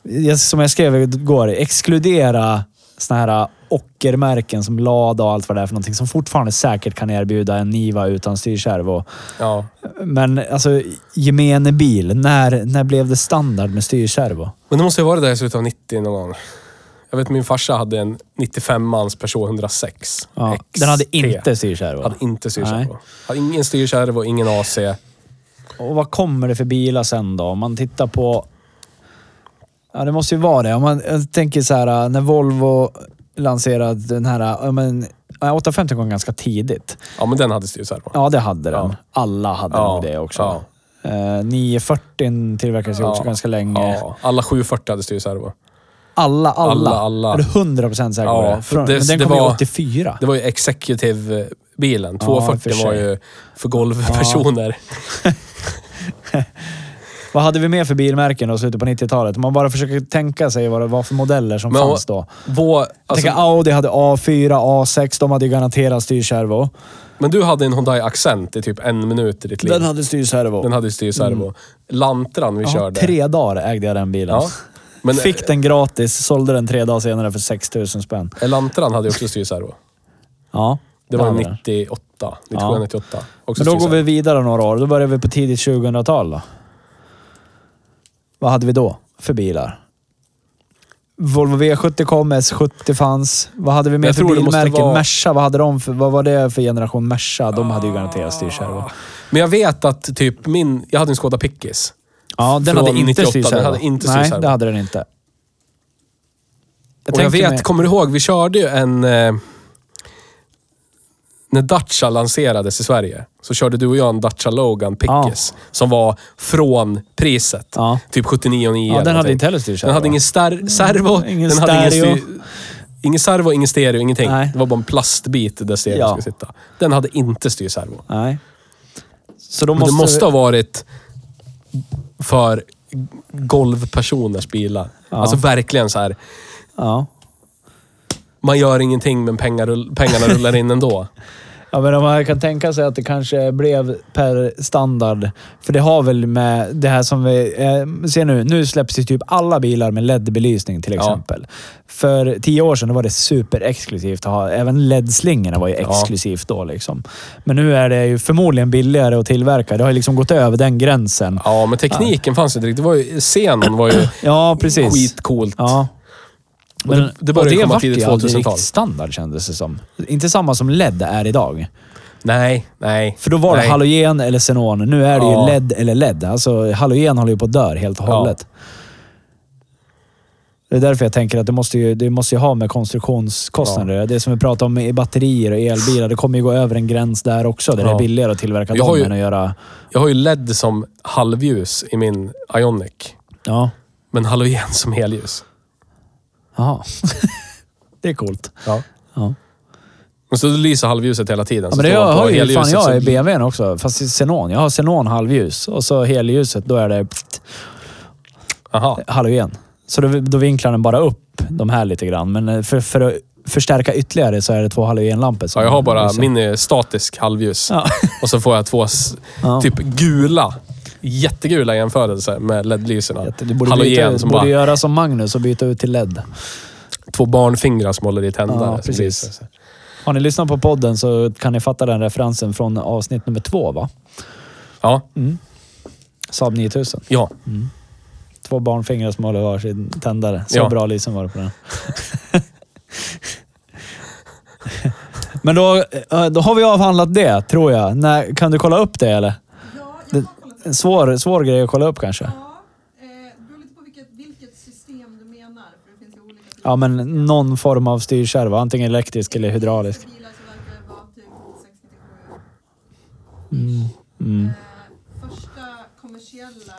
Speaker 2: jag- som jag skrev igår, exkludera såna här ockermärken som Lada och allt vad det är för någonting som fortfarande säkert kan erbjuda en Niva utan styrkärv. Och,
Speaker 4: Ja.
Speaker 2: men alltså, gemene bil. När, när blev det standard med styrkärv?
Speaker 4: Men det måste ju vara det där i slutet av 90 någon gång. Jag vet min farsa hade en 95-mans Peugeot 106.
Speaker 2: Ja,
Speaker 4: XT.
Speaker 2: den hade inte styrkärv.
Speaker 4: Hade inte
Speaker 2: Nej.
Speaker 4: styrkärv. Hade ingen styrkärv och ingen AC.
Speaker 2: Och vad kommer det för bilar sen då? Om man tittar på... Ja, det måste ju vara det. Om man jag tänker så här, när Volvo lanserade den här... Ja, men, ja, 850 kom ganska tidigt.
Speaker 4: Ja, men den hade styrkärv.
Speaker 2: Ja, det hade den.
Speaker 4: Ja.
Speaker 2: Alla hade
Speaker 4: Ja,
Speaker 2: nog det också.
Speaker 4: ja.
Speaker 2: Eh, 940 tillverkades ju också
Speaker 4: Ja,
Speaker 2: ganska länge.
Speaker 4: Ja, alla 740 hade styrservo.
Speaker 2: Alla, alla.
Speaker 4: Alla, alla.
Speaker 2: Är du 100% säker på
Speaker 4: Ja,
Speaker 2: det?
Speaker 4: för
Speaker 2: Från,
Speaker 4: det-
Speaker 2: men den
Speaker 4: det
Speaker 2: kom ju
Speaker 4: var-
Speaker 2: 84.
Speaker 4: Det var ju executive-bilen.
Speaker 2: Ja,
Speaker 4: 240
Speaker 2: i och för
Speaker 4: var
Speaker 2: sig.
Speaker 4: ju för golvpersoner.
Speaker 2: Vad hade vi mer för bilmärken då, slutet på 90-talet? Om man bara försöker tänka sig vad det var för modeller som
Speaker 4: Men
Speaker 2: fanns då.
Speaker 4: Vår,
Speaker 2: Jag
Speaker 4: alltså,
Speaker 2: tänker Audi hade A4, A6. De hade ju garanterat styrservo.
Speaker 4: men du hade en Hyundai Accent i typ en minut i ditt liv.
Speaker 2: Den hade styrservo.
Speaker 4: Den hade ju styrservo. Lantran vi
Speaker 2: Ja,
Speaker 4: körde.
Speaker 2: Tre dagar ägde jag den bilen.
Speaker 4: Ja. Men
Speaker 2: Fick den gratis, sålde den tre dagar senare för 6 000 spänn.
Speaker 4: eh, Lantran hade ju också styrservo.
Speaker 2: Ja,
Speaker 4: Det var
Speaker 2: hade
Speaker 4: 98. 97,
Speaker 2: Ja.
Speaker 4: 98. Också
Speaker 2: Men då går
Speaker 4: styrservo.
Speaker 2: vi vidare några år. Då börjar vi på tidigt 2000-tal då. Vad hade vi då för bilar? Volvo V70 kom, S70 fanns. Vad hade vi mer
Speaker 4: Jag
Speaker 2: för
Speaker 4: tror det måste
Speaker 2: bilmärken?
Speaker 4: vara-
Speaker 2: Merca, vad hade de för... Vad var det för generation Merca? De hade ju garanterat styrservo.
Speaker 4: Men jag vet att typ min... Jag hade en Skoda Pickis.
Speaker 2: Ja, den
Speaker 4: Från
Speaker 2: hade inte
Speaker 4: 98,
Speaker 2: styrservo.
Speaker 4: den hade inte
Speaker 2: Nej,
Speaker 4: styrservo.
Speaker 2: det hade den inte.
Speaker 4: Jag, och jag
Speaker 2: tänker
Speaker 4: vet,
Speaker 2: mig-
Speaker 4: kommer du ihåg, vi körde ju en... Eh, när Dacia lanserades i Sverige så körde du och jag en Dacia Logan Pickis. Som var från priset.
Speaker 2: Ja.
Speaker 4: Typ 79,9
Speaker 2: Ja, den hade
Speaker 4: någonting.
Speaker 2: inte heller styrservo.
Speaker 4: Den hade ingen star- servo.
Speaker 2: Mm, ingen
Speaker 4: den hade
Speaker 2: stereo.
Speaker 4: Ingen, styr- ingen servo, ingen stereo, ingenting.
Speaker 2: Nej.
Speaker 4: Det var bara en plastbit där stereon
Speaker 2: Ja.
Speaker 4: skulle sitta. Den hade inte styrservo.
Speaker 2: Nej. Så då
Speaker 4: Men
Speaker 2: måste...
Speaker 4: det måste ha varit för golvpersoners bilar.
Speaker 2: Ja.
Speaker 4: Alltså verkligen så här.
Speaker 2: Ja.
Speaker 4: Man gör ingenting men pengar, rull- pengarna rullar in ändå.
Speaker 2: Ja, men om man kan tänka sig att det kanske blev per standard. För det har väl med det här som vi eh, ser nu. Nu släpps ju typ alla bilar med LED-belysning till exempel. För tio år sedan då var det superexklusivt att ha. Även LED-slingorna var ju exklusivt då liksom. Men nu är det ju förmodligen billigare att tillverka. Det har ju liksom gått över den gränsen.
Speaker 4: Ja, men tekniken fanns inte riktigt. Det var ju, scenen var ju
Speaker 2: Ja, precis.
Speaker 4: skitcoolt.
Speaker 2: Ja.
Speaker 4: Och det- det började
Speaker 2: och
Speaker 4: komma
Speaker 2: vart
Speaker 4: tidigt
Speaker 2: ju aldrig
Speaker 4: 2000-tal.
Speaker 2: riktigt standard kändes det som. Inte samma som LED är idag.
Speaker 4: Nej, nej.
Speaker 2: För då var
Speaker 4: nej.
Speaker 2: det halogen eller xenon. Nu är det ju
Speaker 4: Ja.
Speaker 2: LED eller LED. Alltså halogen håller ju på att dö helt och
Speaker 4: Ja.
Speaker 2: hållet. Det är därför jag tänker att det måste ju, det måste ju ha med konstruktionskostnader att göra. Det som vi pratade om i batterier och elbilar, det kommer ju gå över en gräns där också. Där det är
Speaker 4: Ja.
Speaker 2: billigare att tillverka
Speaker 4: Jag har
Speaker 2: dem
Speaker 4: ju-
Speaker 2: än att göra...
Speaker 4: Jag har ju LED som halvljus i min Ionic.
Speaker 2: Ja.
Speaker 4: Men halogen som helljus.
Speaker 2: Jaha. det är coolt.
Speaker 4: Ja.
Speaker 2: Ja.
Speaker 4: Men så lyser halvljuset hela tiden.
Speaker 2: Ja,
Speaker 4: så
Speaker 2: men det
Speaker 4: står man
Speaker 2: jag
Speaker 4: Alltså, på
Speaker 2: har ju fan
Speaker 4: helljuset så-
Speaker 2: jag i BMWn också. Fast i xenon. Jag har xenon halvljus och så helljuset, då är det
Speaker 4: Aha.
Speaker 2: halogen. Så då, då vinklar den bara upp de här lite grann. Men eh, för, för att förstärka ytterligare så är det två halogenlampor. som
Speaker 4: Ja, jag har bara,
Speaker 2: lyser.
Speaker 4: min är statisk halvljus.
Speaker 2: Ja.
Speaker 4: Och så får jag två s-
Speaker 2: Ja.
Speaker 4: typ gula, jättegula jämförelser med LED-lyserna.
Speaker 2: Jätte- Du borde,
Speaker 4: Halogen
Speaker 2: byta,
Speaker 4: som
Speaker 2: borde
Speaker 4: bara,
Speaker 2: göra som Magnus och byta ut till LED.
Speaker 4: två barnfingrar som håller i tändare.
Speaker 2: Ja,
Speaker 4: som
Speaker 2: precis.
Speaker 4: lyser så här.
Speaker 2: Har ni lyssnat på podden så kan ni fatta den referensen från avsnitt nummer två, va?
Speaker 4: Ja,
Speaker 2: Saab 9000.
Speaker 4: ja.
Speaker 2: Två barnfingrar som håller varsin tändare. Så
Speaker 4: Ja.
Speaker 2: bra lysen var det på den. Men då, eh, då har vi avhandlat det, tror jag. När, kan du kolla upp det, eller?
Speaker 3: Ja, jag har kollat.
Speaker 2: En svår, svår grej att kolla upp kanske.
Speaker 3: Ja, eh, det beror lite på vilket, vilket system du menar. För det finns ju olika typer.
Speaker 2: Ja, men någon form av styrkärva. Antingen elektrisk eller hydraulisk.
Speaker 3: För bilar så verkar det vara typ 697.
Speaker 2: Mm.
Speaker 3: Eh, första kommersiella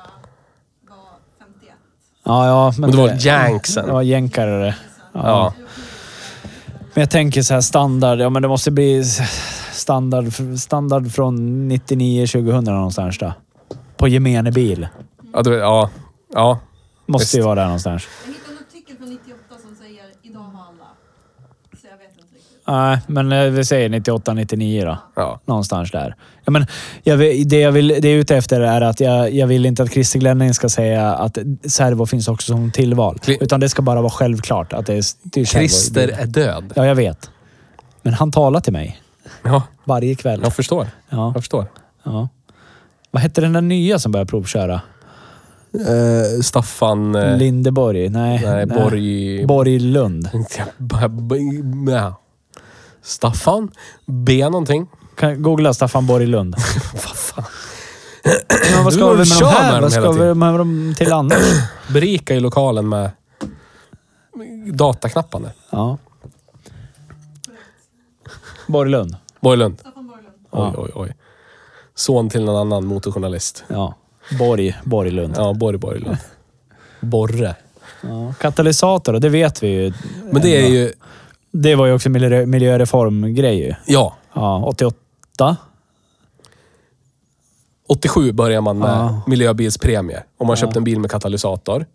Speaker 3: var 51.
Speaker 2: Ja, ja. Men
Speaker 4: Men det var Janksen.
Speaker 2: Det var jänkare det.
Speaker 4: Ja.
Speaker 2: Men jag tänker så här standard. Ja, men det måste bli standard, standard från 99-2000 någonstans där. På gemene bil.
Speaker 4: Ja, det, ja. ja.
Speaker 2: Måste ju
Speaker 4: Visst.
Speaker 2: vara där någonstans.
Speaker 3: Jag hittade en artikel från 98 som säger idag har alla. Så jag vet inte riktigt.
Speaker 2: Nej, men eh, vi säger 98-99 då.
Speaker 4: Ja.
Speaker 2: Någonstans där. Ja, men jag, vill- det, jag vill, det jag är ute efter är att jag, jag vill inte att Christer Glenning ska säga att servo finns också som tillval.
Speaker 4: Kli-
Speaker 2: utan det ska bara vara självklart att det är, det är servo i
Speaker 4: Christer
Speaker 2: bilen.
Speaker 4: är död.
Speaker 2: Ja, jag vet. Men han talar till mig
Speaker 4: Ja,
Speaker 2: varje kväll.
Speaker 4: jag förstår.
Speaker 2: Ja,
Speaker 4: Jag förstår.
Speaker 2: ja. Vad hette den där nya som började provköra?
Speaker 4: Eh, Staffan... eh,
Speaker 2: Lindeborg? Nej.
Speaker 4: nej, Borg...
Speaker 2: Borglund.
Speaker 4: Tänkte jag bara- b- nej. Staffan B någonting.
Speaker 2: Kan googla Staffan Borglund.
Speaker 4: Vad fan.
Speaker 2: Men vad
Speaker 4: Du
Speaker 2: ska vi med de
Speaker 4: kör
Speaker 2: här?
Speaker 4: med dem
Speaker 2: Vad ska
Speaker 4: hela
Speaker 2: vi
Speaker 4: tiden.
Speaker 2: med dem till annars?
Speaker 4: Berika ju lokalen med dataknapparna.
Speaker 2: Ja. Borglund.
Speaker 4: Borglund.
Speaker 3: Staffan Borglund.
Speaker 4: Oj, oj, oj. Son till någon annan motorjournalist.
Speaker 2: Ja. Borg. Borglund. Ja.
Speaker 4: Ja, Borg Borglund. Borre.
Speaker 2: Katalysator, det vet vi ju.
Speaker 4: Men det är ju...
Speaker 2: Det var ju också miljö, miljöreformgrej ju.
Speaker 4: Ja.
Speaker 2: Ja, 88.
Speaker 4: 87 börjar man med
Speaker 2: Ja.
Speaker 4: miljöbilspremie. Om man köpte en bil med katalysator.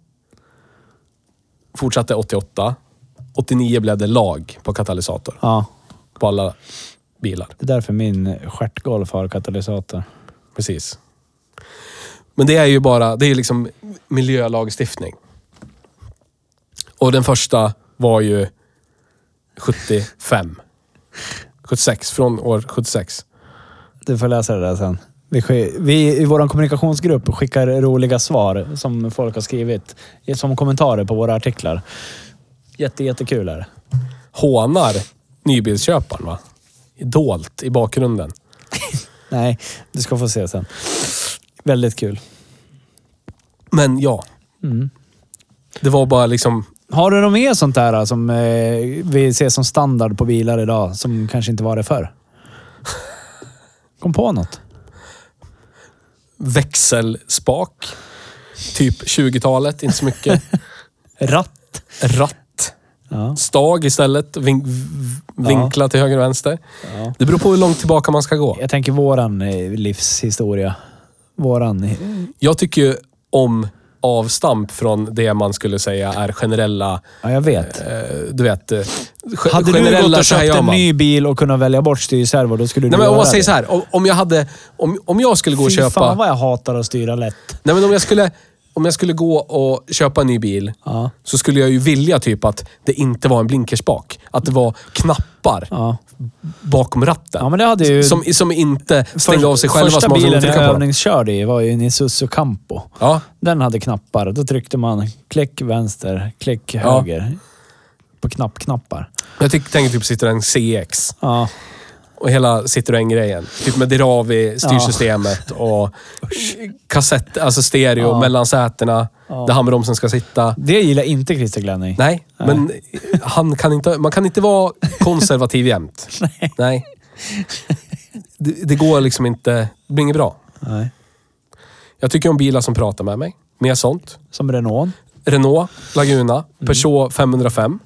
Speaker 4: Fortsatte 88. 89 blev det lag på katalysator.
Speaker 2: Ja,
Speaker 4: På alla bilar.
Speaker 2: det är därför min stjärtgolf har katalysator.
Speaker 4: Precis. Men det är ju bara, det är liksom miljölagstiftning. Och den första var ju 75. 76, från år 76.
Speaker 2: Du får läsa det där sen. Vi, sk- vi i vår kommunikationsgrupp skickar roliga svar som folk har skrivit som kommentarer på våra artiklar. Jätte, jättekul är det.
Speaker 4: Hånar nybilsköparen va? Dolt i bakgrunden.
Speaker 2: Nej, du ska få se sen. Väldigt kul.
Speaker 4: Men ja.
Speaker 2: Mm.
Speaker 4: Det var bara liksom,
Speaker 2: Har du något mer sånt där eh, som eh, vi ser som standard på bilar idag som kanske inte var det förr? Kom på något.
Speaker 4: växelspak. Typ 20-talet, inte så mycket.
Speaker 2: Ratt.
Speaker 4: Ratt.
Speaker 2: Ja.
Speaker 4: Stag istället. Vin- v- vinkla till höger och vänster.
Speaker 2: Ja.
Speaker 4: Det beror på hur långt tillbaka man ska gå.
Speaker 2: Jag tänker våran eh, livshistoria. Våran... eh,
Speaker 4: Jag tycker ju om avstamp från det man skulle säga är generella,
Speaker 2: Ja, jag vet.
Speaker 4: eh, du vet, eh, ge-
Speaker 2: Hade du
Speaker 4: generella
Speaker 2: gått och
Speaker 4: så här
Speaker 2: köpt
Speaker 4: gör
Speaker 2: en
Speaker 4: man.
Speaker 2: ny bil och kunnat välja bort styrservo, då skulle du
Speaker 4: Nej men om
Speaker 2: göra
Speaker 4: man säger
Speaker 2: det.
Speaker 4: så här, om, om jag hade, om, om jag skulle gå och
Speaker 2: Fy
Speaker 4: köpa,
Speaker 2: fan vad jag hatar att styra lätt.
Speaker 4: nej men om jag skulle, om jag skulle gå och köpa en ny bil,
Speaker 2: Ja.
Speaker 4: så skulle jag ju vilja typ att det inte var en blinkerspak. Att det var knappar
Speaker 2: Ja.
Speaker 4: bakom ratten.
Speaker 2: Ja, men det hade ju...
Speaker 4: som, som inte stängde av sig själva.
Speaker 2: Första
Speaker 4: som man var tvungen att
Speaker 2: bilen jag
Speaker 4: trycka på dem.
Speaker 2: övningskörde i var ju en Isuzu Campo.
Speaker 4: Ja,
Speaker 2: Den hade knappar. Då tryckte man klick vänster, klick höger. På knappknappar.
Speaker 4: jag tyck- tänker typ Citroën CX.
Speaker 2: Ja.
Speaker 4: Och hela Citroën-grejen. Typ med Dirawi-styrsystemet och kassett, alltså stereo mellan sätena. Där handbromsen ska sitta.
Speaker 2: Det gillar inte Christer Glenning.
Speaker 4: Nej, men han kan inte, man kan inte vara konservativ jämt. Nej. Det, det går liksom inte. Det blir inget bra.
Speaker 2: Nej.
Speaker 4: Jag tycker om bilar som pratar med mig. Mer sånt.
Speaker 2: Som Renault.
Speaker 4: Renault Laguna. Peugeot 505.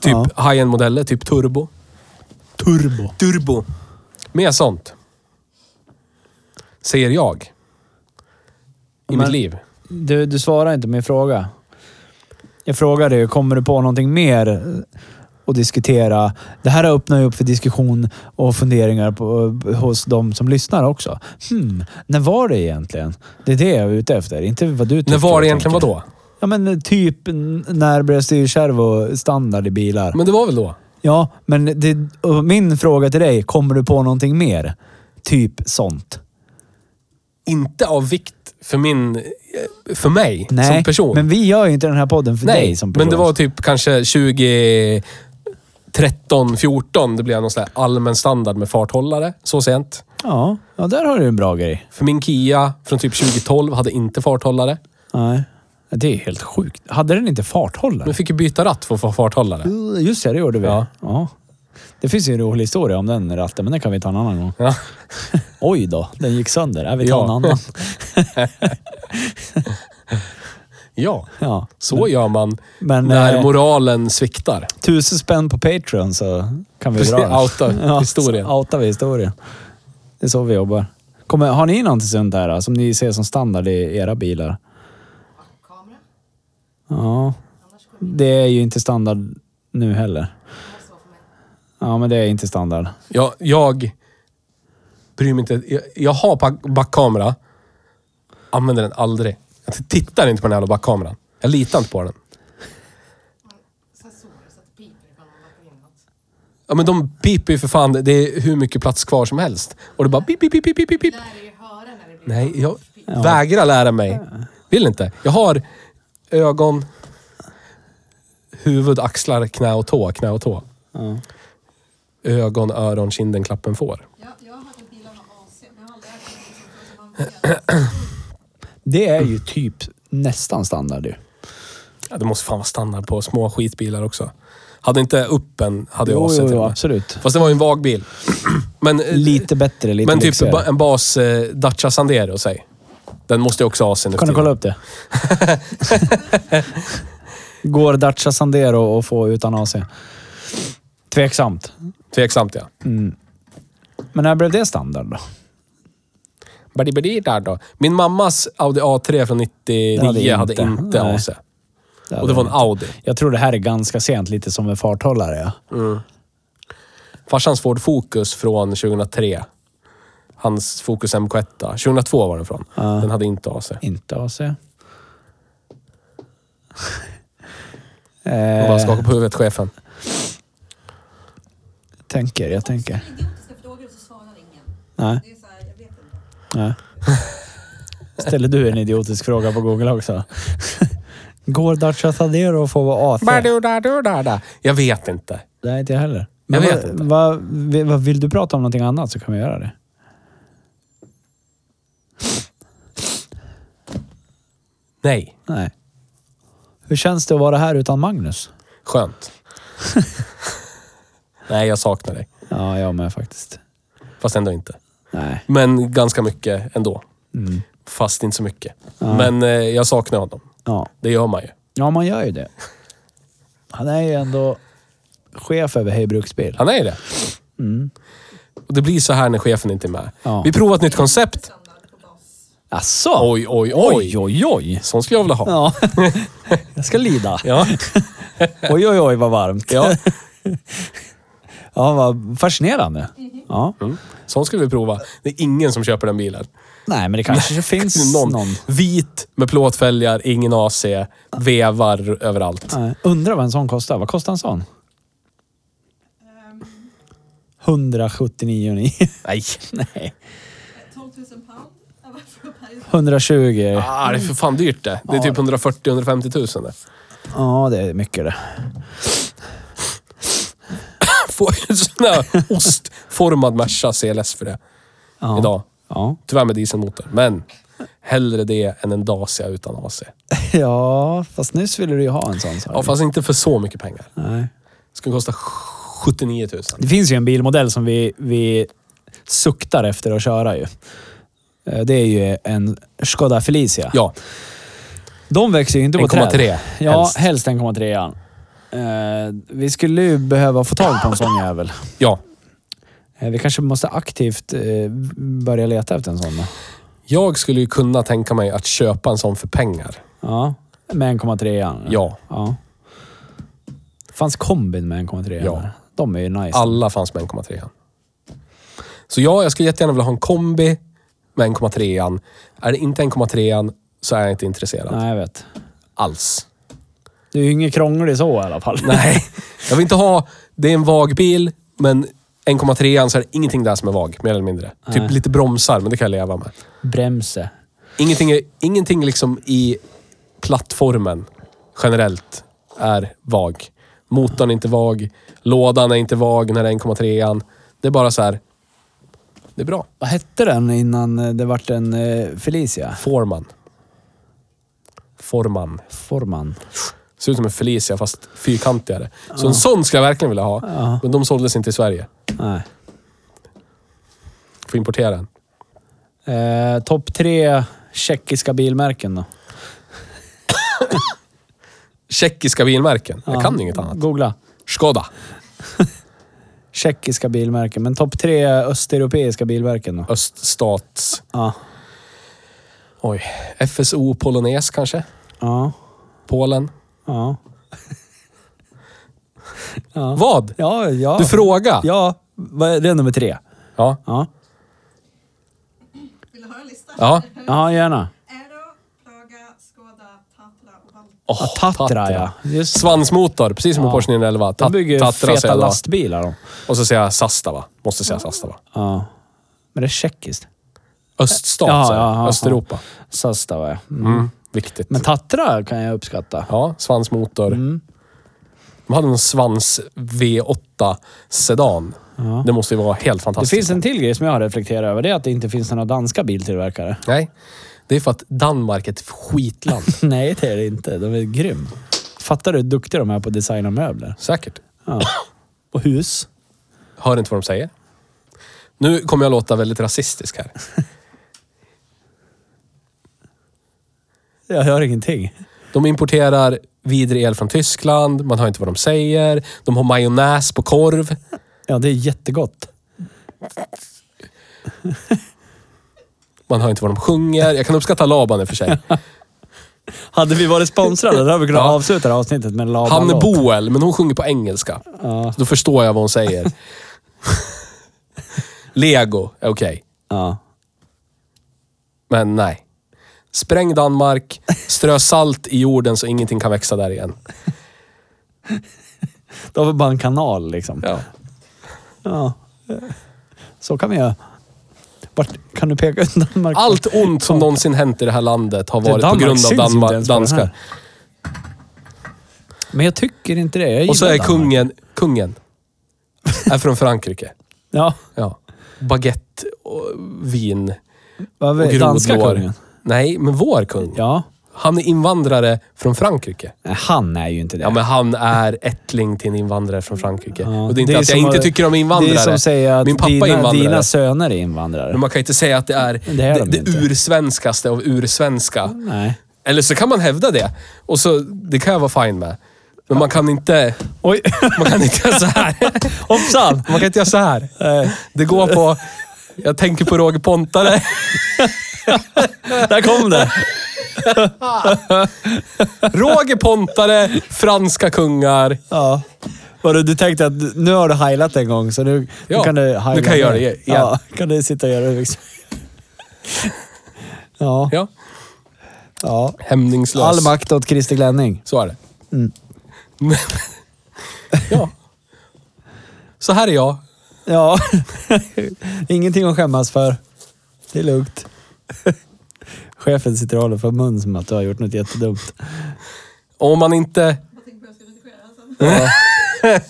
Speaker 4: Typ
Speaker 2: Mm. Ja.
Speaker 4: high-end-modeller. Typ turbo.
Speaker 2: Turbo.
Speaker 4: Turbo. Mer sånt. Säger jag. I
Speaker 2: Men-
Speaker 4: mitt liv.
Speaker 2: Du, du svarar inte på min fråga. Jag frågade ju, kommer du på någonting mer att diskutera? Det här öppnar ju upp för diskussion och funderingar på, hos de som lyssnar också. Hmm, när var det egentligen? Det är det jag är ute efter. Inte vad du tycker.
Speaker 4: När var
Speaker 2: och
Speaker 4: det egentligen
Speaker 2: tänker.
Speaker 4: vadå?
Speaker 2: Ja, men typ n- när blev styrservo standard i bilar?
Speaker 4: Men det var väl då?
Speaker 2: Ja, men det, och min fråga till dig, kommer du på någonting mer? Typ sånt.
Speaker 4: Inte av vikt för min... eh, För mig
Speaker 2: Nej,
Speaker 4: som person.
Speaker 2: men vi gör ju inte den här podden för dig
Speaker 4: Nej,
Speaker 2: som person.
Speaker 4: men det var typ kanske 20... 13, 14, det blev någon sån här allmän standard med farthållare. Så sent.
Speaker 2: Ja, ja där har du en bra grej.
Speaker 4: För min Kia från typ 2012 hade inte farthållare.
Speaker 2: Nej. Det är helt sjukt. Hade den inte farthållare?
Speaker 4: Men fick ju byta ratt för att få farthållare.
Speaker 2: Just det, det gjorde vi. Ja.
Speaker 4: Ja.
Speaker 2: Det finns ju en rolig historia om den ratten, men den kan vi ta en annan gång.
Speaker 4: Ja.
Speaker 2: Oj då, den gick sönder. Äh, vi tar
Speaker 4: Ja.
Speaker 2: en annan.
Speaker 4: ja.
Speaker 2: Ja.
Speaker 4: Så gör man
Speaker 2: Men,
Speaker 4: när
Speaker 2: eh,
Speaker 4: moralen sviktar.
Speaker 2: Tusen spänn på Patreon så kan vi
Speaker 4: Precis,
Speaker 2: dra den.
Speaker 4: outa
Speaker 2: så
Speaker 4: historien.
Speaker 2: Outa vi historien. Det är så vi jobbar. Kommer, har ni någonting sånt där då, som ni ser som standard i era bilar?
Speaker 3: Kamera.
Speaker 2: Ja,
Speaker 3: Annars kommer
Speaker 2: det är ju inte standard nu heller.
Speaker 3: det måste vara för mig.
Speaker 2: Ja, men det är inte standard.
Speaker 4: Jag, jag bryr mig inte. Jag, jag har back- backkamera. Använder den aldrig. Jag tittar inte på den här jävla backkameran. Jag litar inte på den.
Speaker 5: Sensorer så att det piper ifall man backar in något.
Speaker 4: Ja, men de piper ju för fan. Det är hur mycket plats kvar som helst. Och det bara pip, pip, pip, pip, pip, pip.
Speaker 5: Lär dig ju höra när det blir
Speaker 4: Nej, jag vägrar lära mig. Vill inte. Jag har ögon, huvud, axlar, knä och tå. Knä och tå. Ögon, öron, kinden, klappen, får.
Speaker 3: Jag, jag har hört att bilar har AC, men jag har aldrig ägt en bil som man vet.
Speaker 2: Det är ju typ nästan standard ju.
Speaker 4: Ja, det måste fan vara standard på små skitbilar också. Hade inte uppen hade jag
Speaker 2: Jo,
Speaker 4: AC
Speaker 2: jo,
Speaker 4: till
Speaker 2: jo,
Speaker 4: och med.
Speaker 2: absolut.
Speaker 4: Fast det var ju en vag bil. Men, eh,
Speaker 2: Lite bättre, lite
Speaker 4: men typ
Speaker 2: lyxigare.
Speaker 4: ba- en bas eh, Dacia Sandero, säg. Den måste ju också ha AC nu
Speaker 2: Kan du
Speaker 4: för
Speaker 2: kolla
Speaker 4: tiden.
Speaker 2: upp det? Går Dacia Sandero att få utan AC? Tveksamt.
Speaker 4: Tveksamt ja.
Speaker 2: Men när blev det standard då?
Speaker 4: Badi, badi, där då. Min mammas Audi A3 från 99
Speaker 2: Det hade
Speaker 4: hade
Speaker 2: inte.
Speaker 4: inte,
Speaker 2: Nej.
Speaker 4: AC. Och det var en Audi.
Speaker 2: Jag tror det här är ganska sent, lite som en farthållare. Ja.
Speaker 4: Farsans Ford Focus från 2003. Hans Focus MK1. 2002 var den från. Den hade inte AC.
Speaker 2: Inte AC. eh, Eh.
Speaker 4: Jag bara skakar på huvudet, chefen.
Speaker 2: tänker, jag tänker.
Speaker 3: Jag Alltså, idiotiska frågor och så svarar ingen.
Speaker 2: Nej,
Speaker 3: Det är så här, jag vet inte.
Speaker 2: nej. Ställer du en idiotisk fråga på Google också? Går Dacia Sandero att få vara AC?
Speaker 4: Badu, dadu, dada. Jag vet inte.
Speaker 2: Nej, inte jag heller. Men
Speaker 4: Jag
Speaker 2: vad-
Speaker 4: vet inte.
Speaker 2: Vad, vi- vad, vill du prata om någonting annat så kan vi göra det.
Speaker 4: Nej.
Speaker 2: Nej. Hur känns det att vara här utan Magnus?
Speaker 4: Skönt. Nej, jag saknar dig.
Speaker 2: Ja, jag med faktiskt.
Speaker 4: Fast ändå inte.
Speaker 2: Nej.
Speaker 4: Men ganska mycket ändå. Fast inte så mycket. Men eh, jag saknar honom.
Speaker 2: Ja.
Speaker 4: Det gör man ju.
Speaker 2: ja, man gör ju det. Han är ju ändå chef över Hej Bruksbil.
Speaker 4: Han är ju det. Och det blir så här när chefen inte är med.
Speaker 2: Ja.
Speaker 4: Vi provar ett nytt koncept.
Speaker 2: Asså?
Speaker 4: Oj, oj, oj.
Speaker 2: oj, oj.
Speaker 4: Sånt skulle jag vilja ha.
Speaker 2: Ja. jag ska lida.
Speaker 4: Ja.
Speaker 2: Oj, oj, oj vad varmt.
Speaker 4: ja.
Speaker 2: Ja, vad fascinerande. Ja.
Speaker 4: Mm. Sånt skulle vi prova. Det är ingen som köper den bilen.
Speaker 2: Nej, men det kanske finns någon.
Speaker 4: Någon. Vit med plåtfälgar, ingen AC, vevar överallt.
Speaker 2: Nej. Undrar vad en sån kostar. Vad kostar en sån? 179,9.
Speaker 4: Nej.
Speaker 2: Ehm. Nej.
Speaker 3: 12 000 pound? Jag var från Paris.
Speaker 2: 120.
Speaker 4: Ah, det är för fan dyrt det. Det är typ 140-150 tusen det.
Speaker 2: Ja, det är mycket det. Ah,
Speaker 4: Får ju en sån här ostformad Merca CLS för det.
Speaker 2: Ja.
Speaker 4: Idag.
Speaker 2: Ja.
Speaker 4: Tyvärr med dieselmotor. Men hellre det än en Dacia utan AC.
Speaker 2: ja, fast nyss ville du ju ha en sån. sa
Speaker 4: Ja,
Speaker 2: du.
Speaker 4: fast inte för så mycket pengar.
Speaker 2: Nej.
Speaker 4: Det skulle kosta 79 000.
Speaker 2: Det finns ju en bilmodell som vi, vi suktar efter att köra ju. Eh, Det är ju en Skoda Felicia.
Speaker 4: Ja,
Speaker 2: De växer ju inte på träd.
Speaker 4: 1,3
Speaker 2: Ja,
Speaker 4: helst.
Speaker 2: helst 1,3. Uh, vi skulle ju behöva få tag på en sån jävel.
Speaker 4: ja.
Speaker 2: Eh, vi kanske måste aktivt eh, börja leta efter en sån. då.
Speaker 4: Jag skulle ju kunna tänka mig att köpa en sån för pengar.
Speaker 2: Ja, med 1,3.
Speaker 4: Ja.
Speaker 2: ja. Fanns kombin med 1,3?
Speaker 4: Ja.
Speaker 2: där? De är ju nice.
Speaker 4: Alla fanns med 1,3. Så ja, jag skulle jättegärna vilja ha en kombi med 1,3. Är det inte 1,3 så är jag inte intresserad
Speaker 2: Nej, jag vet.
Speaker 4: alls.
Speaker 2: Det är ju inget krångligt så i alla fall.
Speaker 4: Nej, jag vill inte ha... Det är en vag bil, men 1,3 så är det ingenting där som är vag, mer eller mindre. Typ lite bromsar, men det kan jag leva med.
Speaker 2: Bremse.
Speaker 4: Ingenting, är- ingenting liksom i plattformen generellt är vag. Motorn är inte vag. Lådan är inte vag när det är 1,3. Det är bara så här. Det är bra.
Speaker 2: Vad hette den innan eh, det vart en eh, Felicia?
Speaker 4: Forman. Forman.
Speaker 2: Forman.
Speaker 4: Ser ut som en Felicia fast fyrkantigare. Så en sån ska jag verkligen vilja ha. Men de såldes inte i Sverige.
Speaker 2: Nej.
Speaker 4: Får importera den.
Speaker 2: Eh, Topp tre tjeckiska bilmärken då?
Speaker 4: Tjeckiska bilmärken. Jag kan inget annat.
Speaker 2: Googla.
Speaker 4: Skoda.
Speaker 2: Tjeckiska bilmärken, men topp tre östeuropeiska bilmärken då?
Speaker 4: Öststats...
Speaker 2: Ja.
Speaker 4: Oj. FSO Polones kanske?
Speaker 2: Ja.
Speaker 4: Polen.
Speaker 2: Ja. Ja.
Speaker 4: Vad?
Speaker 2: Ja, ja.
Speaker 4: Du frågar?
Speaker 2: Ja, vad är- det är nummer tre.
Speaker 4: Ja.
Speaker 2: Ja,
Speaker 3: Vill du höra en lista?
Speaker 4: Ja.
Speaker 2: ja gärna.
Speaker 3: Äro, plaga, skåda, tatla och valta.
Speaker 4: Åh,
Speaker 2: Ja, Tatra, ja. Just.
Speaker 4: Svansmotor, precis som på Porsche 911. Ta-
Speaker 2: De bygger ju
Speaker 4: Tatra säger
Speaker 2: feta
Speaker 4: jag då.
Speaker 2: lastbilar de.
Speaker 4: Och så säger jag Sastava. Måste säga Sastava.
Speaker 2: Ja. Men det är tjeckiskt.
Speaker 4: Öststat,
Speaker 2: Ja,
Speaker 4: säger jag.
Speaker 2: ja, ja, ja.
Speaker 4: Östeuropa.
Speaker 2: Sastava, ja. Mm.
Speaker 4: Mm. Viktigt.
Speaker 2: Men Tatra kan jag uppskatta.
Speaker 4: Ja, svansmotor.
Speaker 2: Mm.
Speaker 4: De hade en svans V8 Sedan. Det måste ju vara helt
Speaker 2: Det
Speaker 4: fantastiskt.
Speaker 2: finns en till grej som jag har reflekterat över. Det är att det inte finns några danska biltillverkare.
Speaker 4: Nej, det är för att Danmark är ett skitland.
Speaker 2: Nej, det är det inte. De är grym. Fattar du hur duktiga de är på att designa möbler?
Speaker 4: Säkert.
Speaker 2: Ja. Och hus.
Speaker 4: Hör inte vad de säger. Nu kommer jag låta väldigt rasistisk här.
Speaker 2: Jag hör ingenting.
Speaker 4: De importerar vidrig el från Tyskland, man hör inte vad de säger. De har majonnäs på korv.
Speaker 2: Ja, det är jättegott.
Speaker 4: Man hör inte vad de sjunger. Jag kan uppskatta Laban i och för sig.
Speaker 2: Hade vi varit sponsrade hade vi kunnat
Speaker 4: Ja.
Speaker 2: avsluta det här avsnittet med en laban
Speaker 4: Han är Boel, men hon sjunger på engelska.
Speaker 2: Ja.
Speaker 4: Då förstår jag vad hon säger. Lego, är okej.
Speaker 2: Ja.
Speaker 4: Men nej. Spräng Danmark, strö salt i jorden så ingenting kan växa där igen.
Speaker 2: Då har vi bara en kanal liksom. Ja. Så kan vi göra. Vart kan du peka ut Danmark?
Speaker 4: Allt ont som någonsin hänt i det här landet har
Speaker 2: Det är
Speaker 4: varit på
Speaker 2: Danmark
Speaker 4: grund av
Speaker 2: syns inte
Speaker 4: Danmark,
Speaker 2: ens på den här.
Speaker 4: danskar.
Speaker 2: Men jag tycker inte det. Jag
Speaker 4: Och så
Speaker 2: gillar
Speaker 4: är
Speaker 2: Danmark.
Speaker 4: kungen, kungen, är från Frankrike.
Speaker 2: Ja.
Speaker 4: Ja. Baguette och vin
Speaker 2: Vad
Speaker 4: och
Speaker 2: vi, danska
Speaker 4: grodlår.
Speaker 2: kungen.
Speaker 4: Nej, men vår kung.
Speaker 2: Ja.
Speaker 4: Han är invandrare från Frankrike.
Speaker 2: Nej, han är ju inte det.
Speaker 4: Ja, men han är ättling till en invandrare från Frankrike.
Speaker 2: Ja.
Speaker 4: Och det är inte
Speaker 2: är
Speaker 4: att jag
Speaker 2: som
Speaker 4: inte
Speaker 2: att-
Speaker 4: tycker om
Speaker 2: Det är
Speaker 4: invandrare.
Speaker 2: som säger att
Speaker 4: Min pappa är
Speaker 2: dina,
Speaker 4: invandrare. Mm.
Speaker 2: dina söner är invandrare.
Speaker 4: Men man kan ju inte säga att det är
Speaker 2: Det är de
Speaker 4: det, det
Speaker 2: inte.
Speaker 4: ursvenskaste av ursvenska.
Speaker 2: Nej.
Speaker 4: Eller så kan man hävda det. Och så, det kan jag vara fine med. Men man kan inte...
Speaker 2: Oj,
Speaker 4: Man kan inte göra så här.
Speaker 2: hoppsan!
Speaker 4: Man kan inte göra så här. Det går på... Jag tänker på Roger Pontare.
Speaker 2: Där kom det!
Speaker 4: Roger Pontare, franska kungar.
Speaker 2: Ja. Vadå, du tänkte att nu har du heilat en gång, så nu,
Speaker 4: Ja,
Speaker 2: nu kan du
Speaker 4: nu
Speaker 2: heila
Speaker 4: kan jag göra det
Speaker 2: mer.
Speaker 4: igen.
Speaker 2: Ja, kan du sitta och göra det liksom. Ja,
Speaker 4: Ja.
Speaker 2: ja. Mm.
Speaker 4: Hämningslös.
Speaker 2: All makt åt Christer Glenning.
Speaker 4: Så är det. Men- ja. Så här är jag.
Speaker 2: Ja. Ingenting att skämmas för. Det är lugnt. Chefen sitter och håller för mun som att du har gjort något jättedumt.
Speaker 4: Och om man inte...
Speaker 3: Jag tänker på att jag ska redigera sen.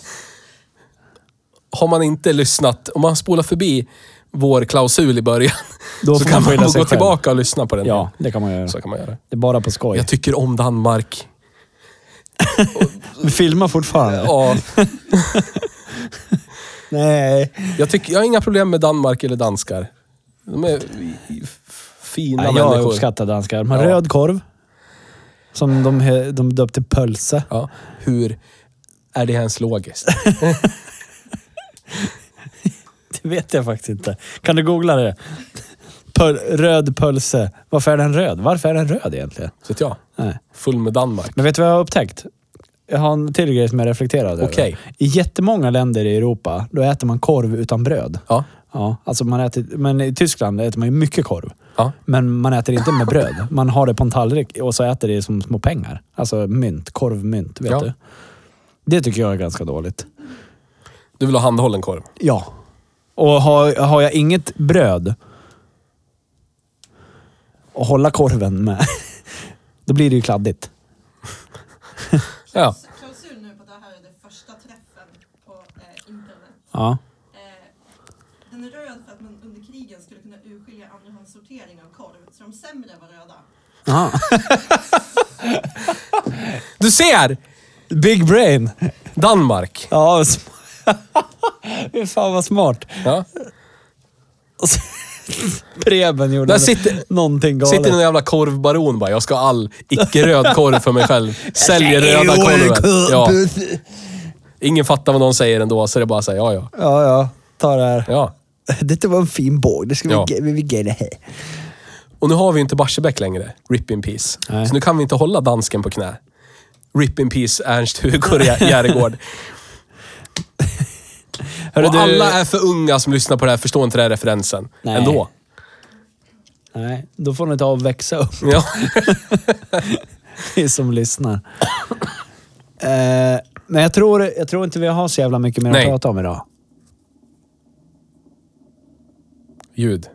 Speaker 4: Har man inte lyssnat... Om man spolar förbi vår klausul i början
Speaker 2: Då
Speaker 4: så
Speaker 2: får man
Speaker 4: kan man,
Speaker 2: skylla sig
Speaker 4: gå
Speaker 2: själv.
Speaker 4: tillbaka och lyssna på den.
Speaker 2: Ja, det kan man göra.
Speaker 4: Så kan man göra.
Speaker 2: Det är bara på skoj.
Speaker 4: Jag tycker om Danmark.
Speaker 2: Vi filmar fortfarande.
Speaker 4: Ja,
Speaker 2: Nej.
Speaker 4: jag, tycker, jag har inga problem med Danmark eller danskar. De är f- fina
Speaker 2: Nej, jag
Speaker 4: människor.
Speaker 2: uppskattar danskar. De har
Speaker 4: Ja.
Speaker 2: röd korv. Som de, he- de döpte pölse.
Speaker 4: Ja. Hur är det ens logiskt?
Speaker 2: Det vet jag faktiskt inte. Kan du googla det? Pöl, röd pölse. Varför är den röd? Varför är den röd egentligen?
Speaker 4: Så att jag,
Speaker 2: Nej.
Speaker 4: full med Danmark.
Speaker 2: Men vet du vad jag har upptäckt? Jag har en till grej som jag reflekterade
Speaker 4: Okej.
Speaker 2: över. I jättemånga länder i Europa, då äter man korv utan bröd.
Speaker 4: Ja.
Speaker 2: Ja, alltså man äter, men i Tyskland äter man ju mycket korv.
Speaker 4: Ja.
Speaker 2: Men man äter inte med bröd. Man har det på en tallrik och så äter det som små pengar. Alltså mynt, korvmynt, vet
Speaker 4: Ja.
Speaker 2: du. Det tycker jag är ganska dåligt.
Speaker 4: Du vill ha handhållen korv?
Speaker 2: Ja. Och har, har jag inget bröd att hålla korven med, då blir det ju kladdigt.
Speaker 4: Ja.
Speaker 3: Klausul nu på att det här är den första träffen på eh, internet.
Speaker 2: Ja.
Speaker 3: Eh, den är röd för att man under krigen skulle kunna urskilja andrahandssortering av korv, så de sämre var röda.
Speaker 2: Aha.
Speaker 4: Du ser!
Speaker 2: Big brain!
Speaker 4: Danmark.
Speaker 2: Ja, sm- Fy fan vad smart.
Speaker 4: Ja.
Speaker 2: Och så- Preben gjorde
Speaker 4: Där
Speaker 2: Där
Speaker 4: sitter-
Speaker 2: någonting galet.
Speaker 4: Sitter någon jävla korvbaron bara, jag ska ha all icke-röd korv för mig själv. Säljer röda korven. Ja. Ingen fattar vad någon säger ändå, så det är bara säger ja, ja.
Speaker 2: Ja, ja. Ta det här.
Speaker 4: Ja.
Speaker 2: Detta var en fin båg. Det ska
Speaker 4: Ja.
Speaker 2: vi, ge- vi, vi ge det här.
Speaker 4: Och nu har vi ju inte Barsebäck längre. Rip in peace.
Speaker 2: Nej.
Speaker 4: Så nu kan vi inte hålla dansken på knä. Rip in peace Ernst-Hugo Jä- Järegård.
Speaker 2: Hörru,
Speaker 4: Och
Speaker 2: du-
Speaker 4: alla är för unga som lyssnar på det här förstår inte den här referensen.
Speaker 2: Nej.
Speaker 4: Ändå.
Speaker 2: Nej, då får ni ta och växa upp,
Speaker 4: Ja.
Speaker 2: ni som lyssnar. Eh, men jag tror, jag tror inte vi har så jävla mycket mer
Speaker 4: Nej.
Speaker 2: att prata om idag.
Speaker 4: Ljud.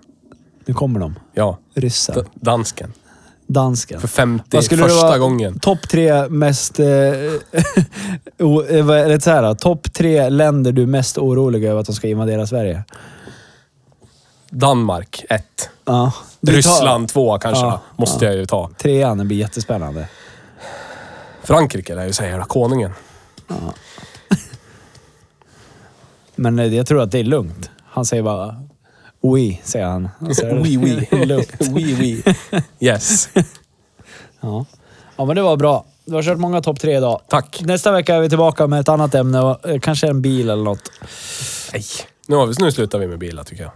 Speaker 2: Nu kommer de.
Speaker 4: Ja. D-
Speaker 2: Ryssen.
Speaker 4: dansken.
Speaker 2: Dansken.
Speaker 4: För 50
Speaker 2: Vad skulle det
Speaker 4: första
Speaker 2: vara?
Speaker 4: gången.
Speaker 2: Topp tre mest... Eh, o- eh, vad är det så här då? Topp tre länder du är mest orolig över att de ska invadera Sverige?
Speaker 4: Danmark, ett.
Speaker 2: Ja. Du tar-
Speaker 4: Ryssland, två kanske.
Speaker 2: Ja,
Speaker 4: Måste jag ju ta.
Speaker 2: Trean, det blir jättespännande.
Speaker 4: Frankrike lär ju säga jävla konungen.
Speaker 2: Men eh, jag tror att det är lugnt. Han säger bara... Oui, säger han. Han säger,
Speaker 4: Oui, oui.
Speaker 2: lugnt.
Speaker 4: oui, oui. Yes.
Speaker 2: Ja. ja, men det var bra. Du har kört många topp tre idag.
Speaker 4: Tack.
Speaker 2: Nästa vecka är vi tillbaka med ett annat ämne. och, eh, Kanske en bil eller något.
Speaker 4: Nej. Nu, har vi, nu slutar vi med bilar tycker jag.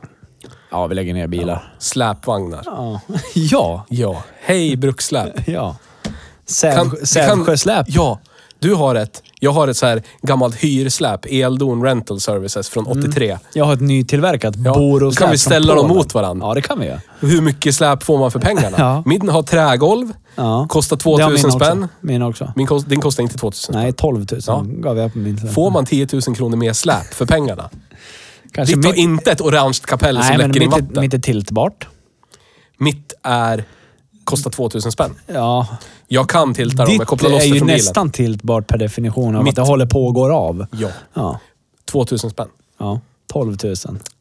Speaker 2: Ja, vi lägger ner bilar.
Speaker 4: Släpvagnar.
Speaker 2: Ja. Ja.
Speaker 4: Ja. Hej brukssläp.
Speaker 2: ja.
Speaker 4: Kan-
Speaker 2: Säv,
Speaker 4: vi
Speaker 2: Sävsjösläp.
Speaker 4: kan- Ja. Du har ett. Jag har ett så här gammalt hyrsläp. Eldon Rental Services från
Speaker 2: Mm.
Speaker 4: 83.
Speaker 2: Jag har ett nytillverkat
Speaker 4: Ja,
Speaker 2: Borosläp
Speaker 4: kan vi
Speaker 2: från
Speaker 4: ställa dem
Speaker 2: Polen.
Speaker 4: mot varandra?
Speaker 2: Ja, det kan vi göra.
Speaker 4: Hur mycket släp får man för pengarna?
Speaker 2: Ja.
Speaker 4: Min har trägolv.
Speaker 2: Ja.
Speaker 4: Kostar
Speaker 2: Det har
Speaker 4: 2000
Speaker 2: min
Speaker 4: spänn.
Speaker 2: Också. Min också.
Speaker 4: Min kost, din kostar inte 2000
Speaker 2: Nej, 12 000
Speaker 4: Ja.
Speaker 2: gav jag på min. släp.
Speaker 4: Får man 10 000 kronor mer släp för pengarna?
Speaker 2: Kanske
Speaker 4: Ditt har
Speaker 2: Alltså, mitt,
Speaker 4: inte ett orange kapell som
Speaker 2: nej, men
Speaker 4: läcker in vatten.
Speaker 2: mitt, är-
Speaker 4: Mitt,
Speaker 2: mitt är tiltbart.
Speaker 4: är... Kostar 2000 spänn.
Speaker 2: Ja.
Speaker 4: Jag kan tilta dem. Jag
Speaker 2: Ditt
Speaker 4: kopplar loss
Speaker 2: är
Speaker 4: det
Speaker 2: ju
Speaker 4: från bilen.
Speaker 2: nästan tiltbart per definition av
Speaker 4: Mitt-
Speaker 2: att det håller på och går av.
Speaker 4: Ja.
Speaker 2: Ja.
Speaker 4: 2000 spänn.
Speaker 2: ja. 12 000.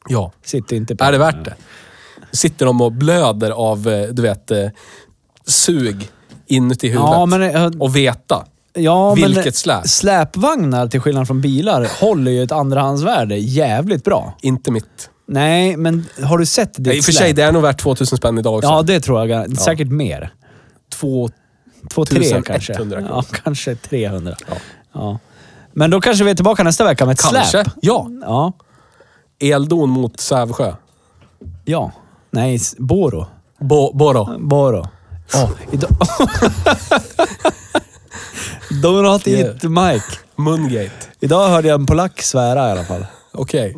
Speaker 4: Ja.
Speaker 2: Sitter inte på
Speaker 4: Är det värt det? Sitter de och blöder av, eh, du vet, eh, sug inuti huvudet.
Speaker 2: Ja, men, eh,
Speaker 4: och veta.
Speaker 2: Ja, men
Speaker 4: Vilket släp?
Speaker 2: Släpvagnar, till skillnad från bilar, håller ju ett andrahandsvärde jävligt bra.
Speaker 4: Inte mitt.
Speaker 2: Nej, men har du sett ditt
Speaker 4: Nej, I och för sig,
Speaker 2: släp?
Speaker 4: det är nog värt 2000 spänn idag också.
Speaker 2: Ja, det tror jag. gar- Säkert mer.
Speaker 4: Två...
Speaker 2: Två, tre
Speaker 4: 1100
Speaker 2: kanske.
Speaker 4: kronor.
Speaker 2: Ja, kanske 300. Ja. Men då kanske vi är tillbaka nästa vecka med ett
Speaker 4: Kanske.
Speaker 2: släp.
Speaker 4: Ja.
Speaker 2: Ja.
Speaker 4: Eldon mot Sävsjö.
Speaker 2: Ja. Nej, s- Boro.
Speaker 4: Bo, Boro.
Speaker 2: Boro. Oh. Idag... Don't not eat Mike.
Speaker 4: Mungate.
Speaker 2: Idag hörde jag en polack svära i alla fall.
Speaker 4: Okej.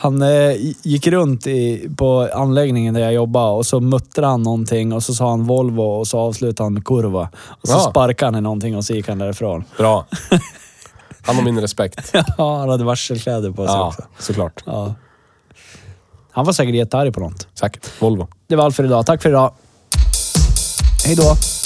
Speaker 2: Han eh, gick runt i, på anläggningen där jag jobbade och så muttrade han någonting och så sa han Volvo och så avslutade han med kurva. Och så
Speaker 4: Ja.
Speaker 2: sparkade han i någonting och så gick han därifrån.
Speaker 4: Bra. Han har min respekt.
Speaker 2: Ja, han hade varselkläder på sig
Speaker 4: Ja,
Speaker 2: också.
Speaker 4: såklart.
Speaker 2: Ja. Han var säkert jättearg på något.
Speaker 4: Säkert. Volvo.
Speaker 2: Det var allt för idag. Tack för idag. Hej då.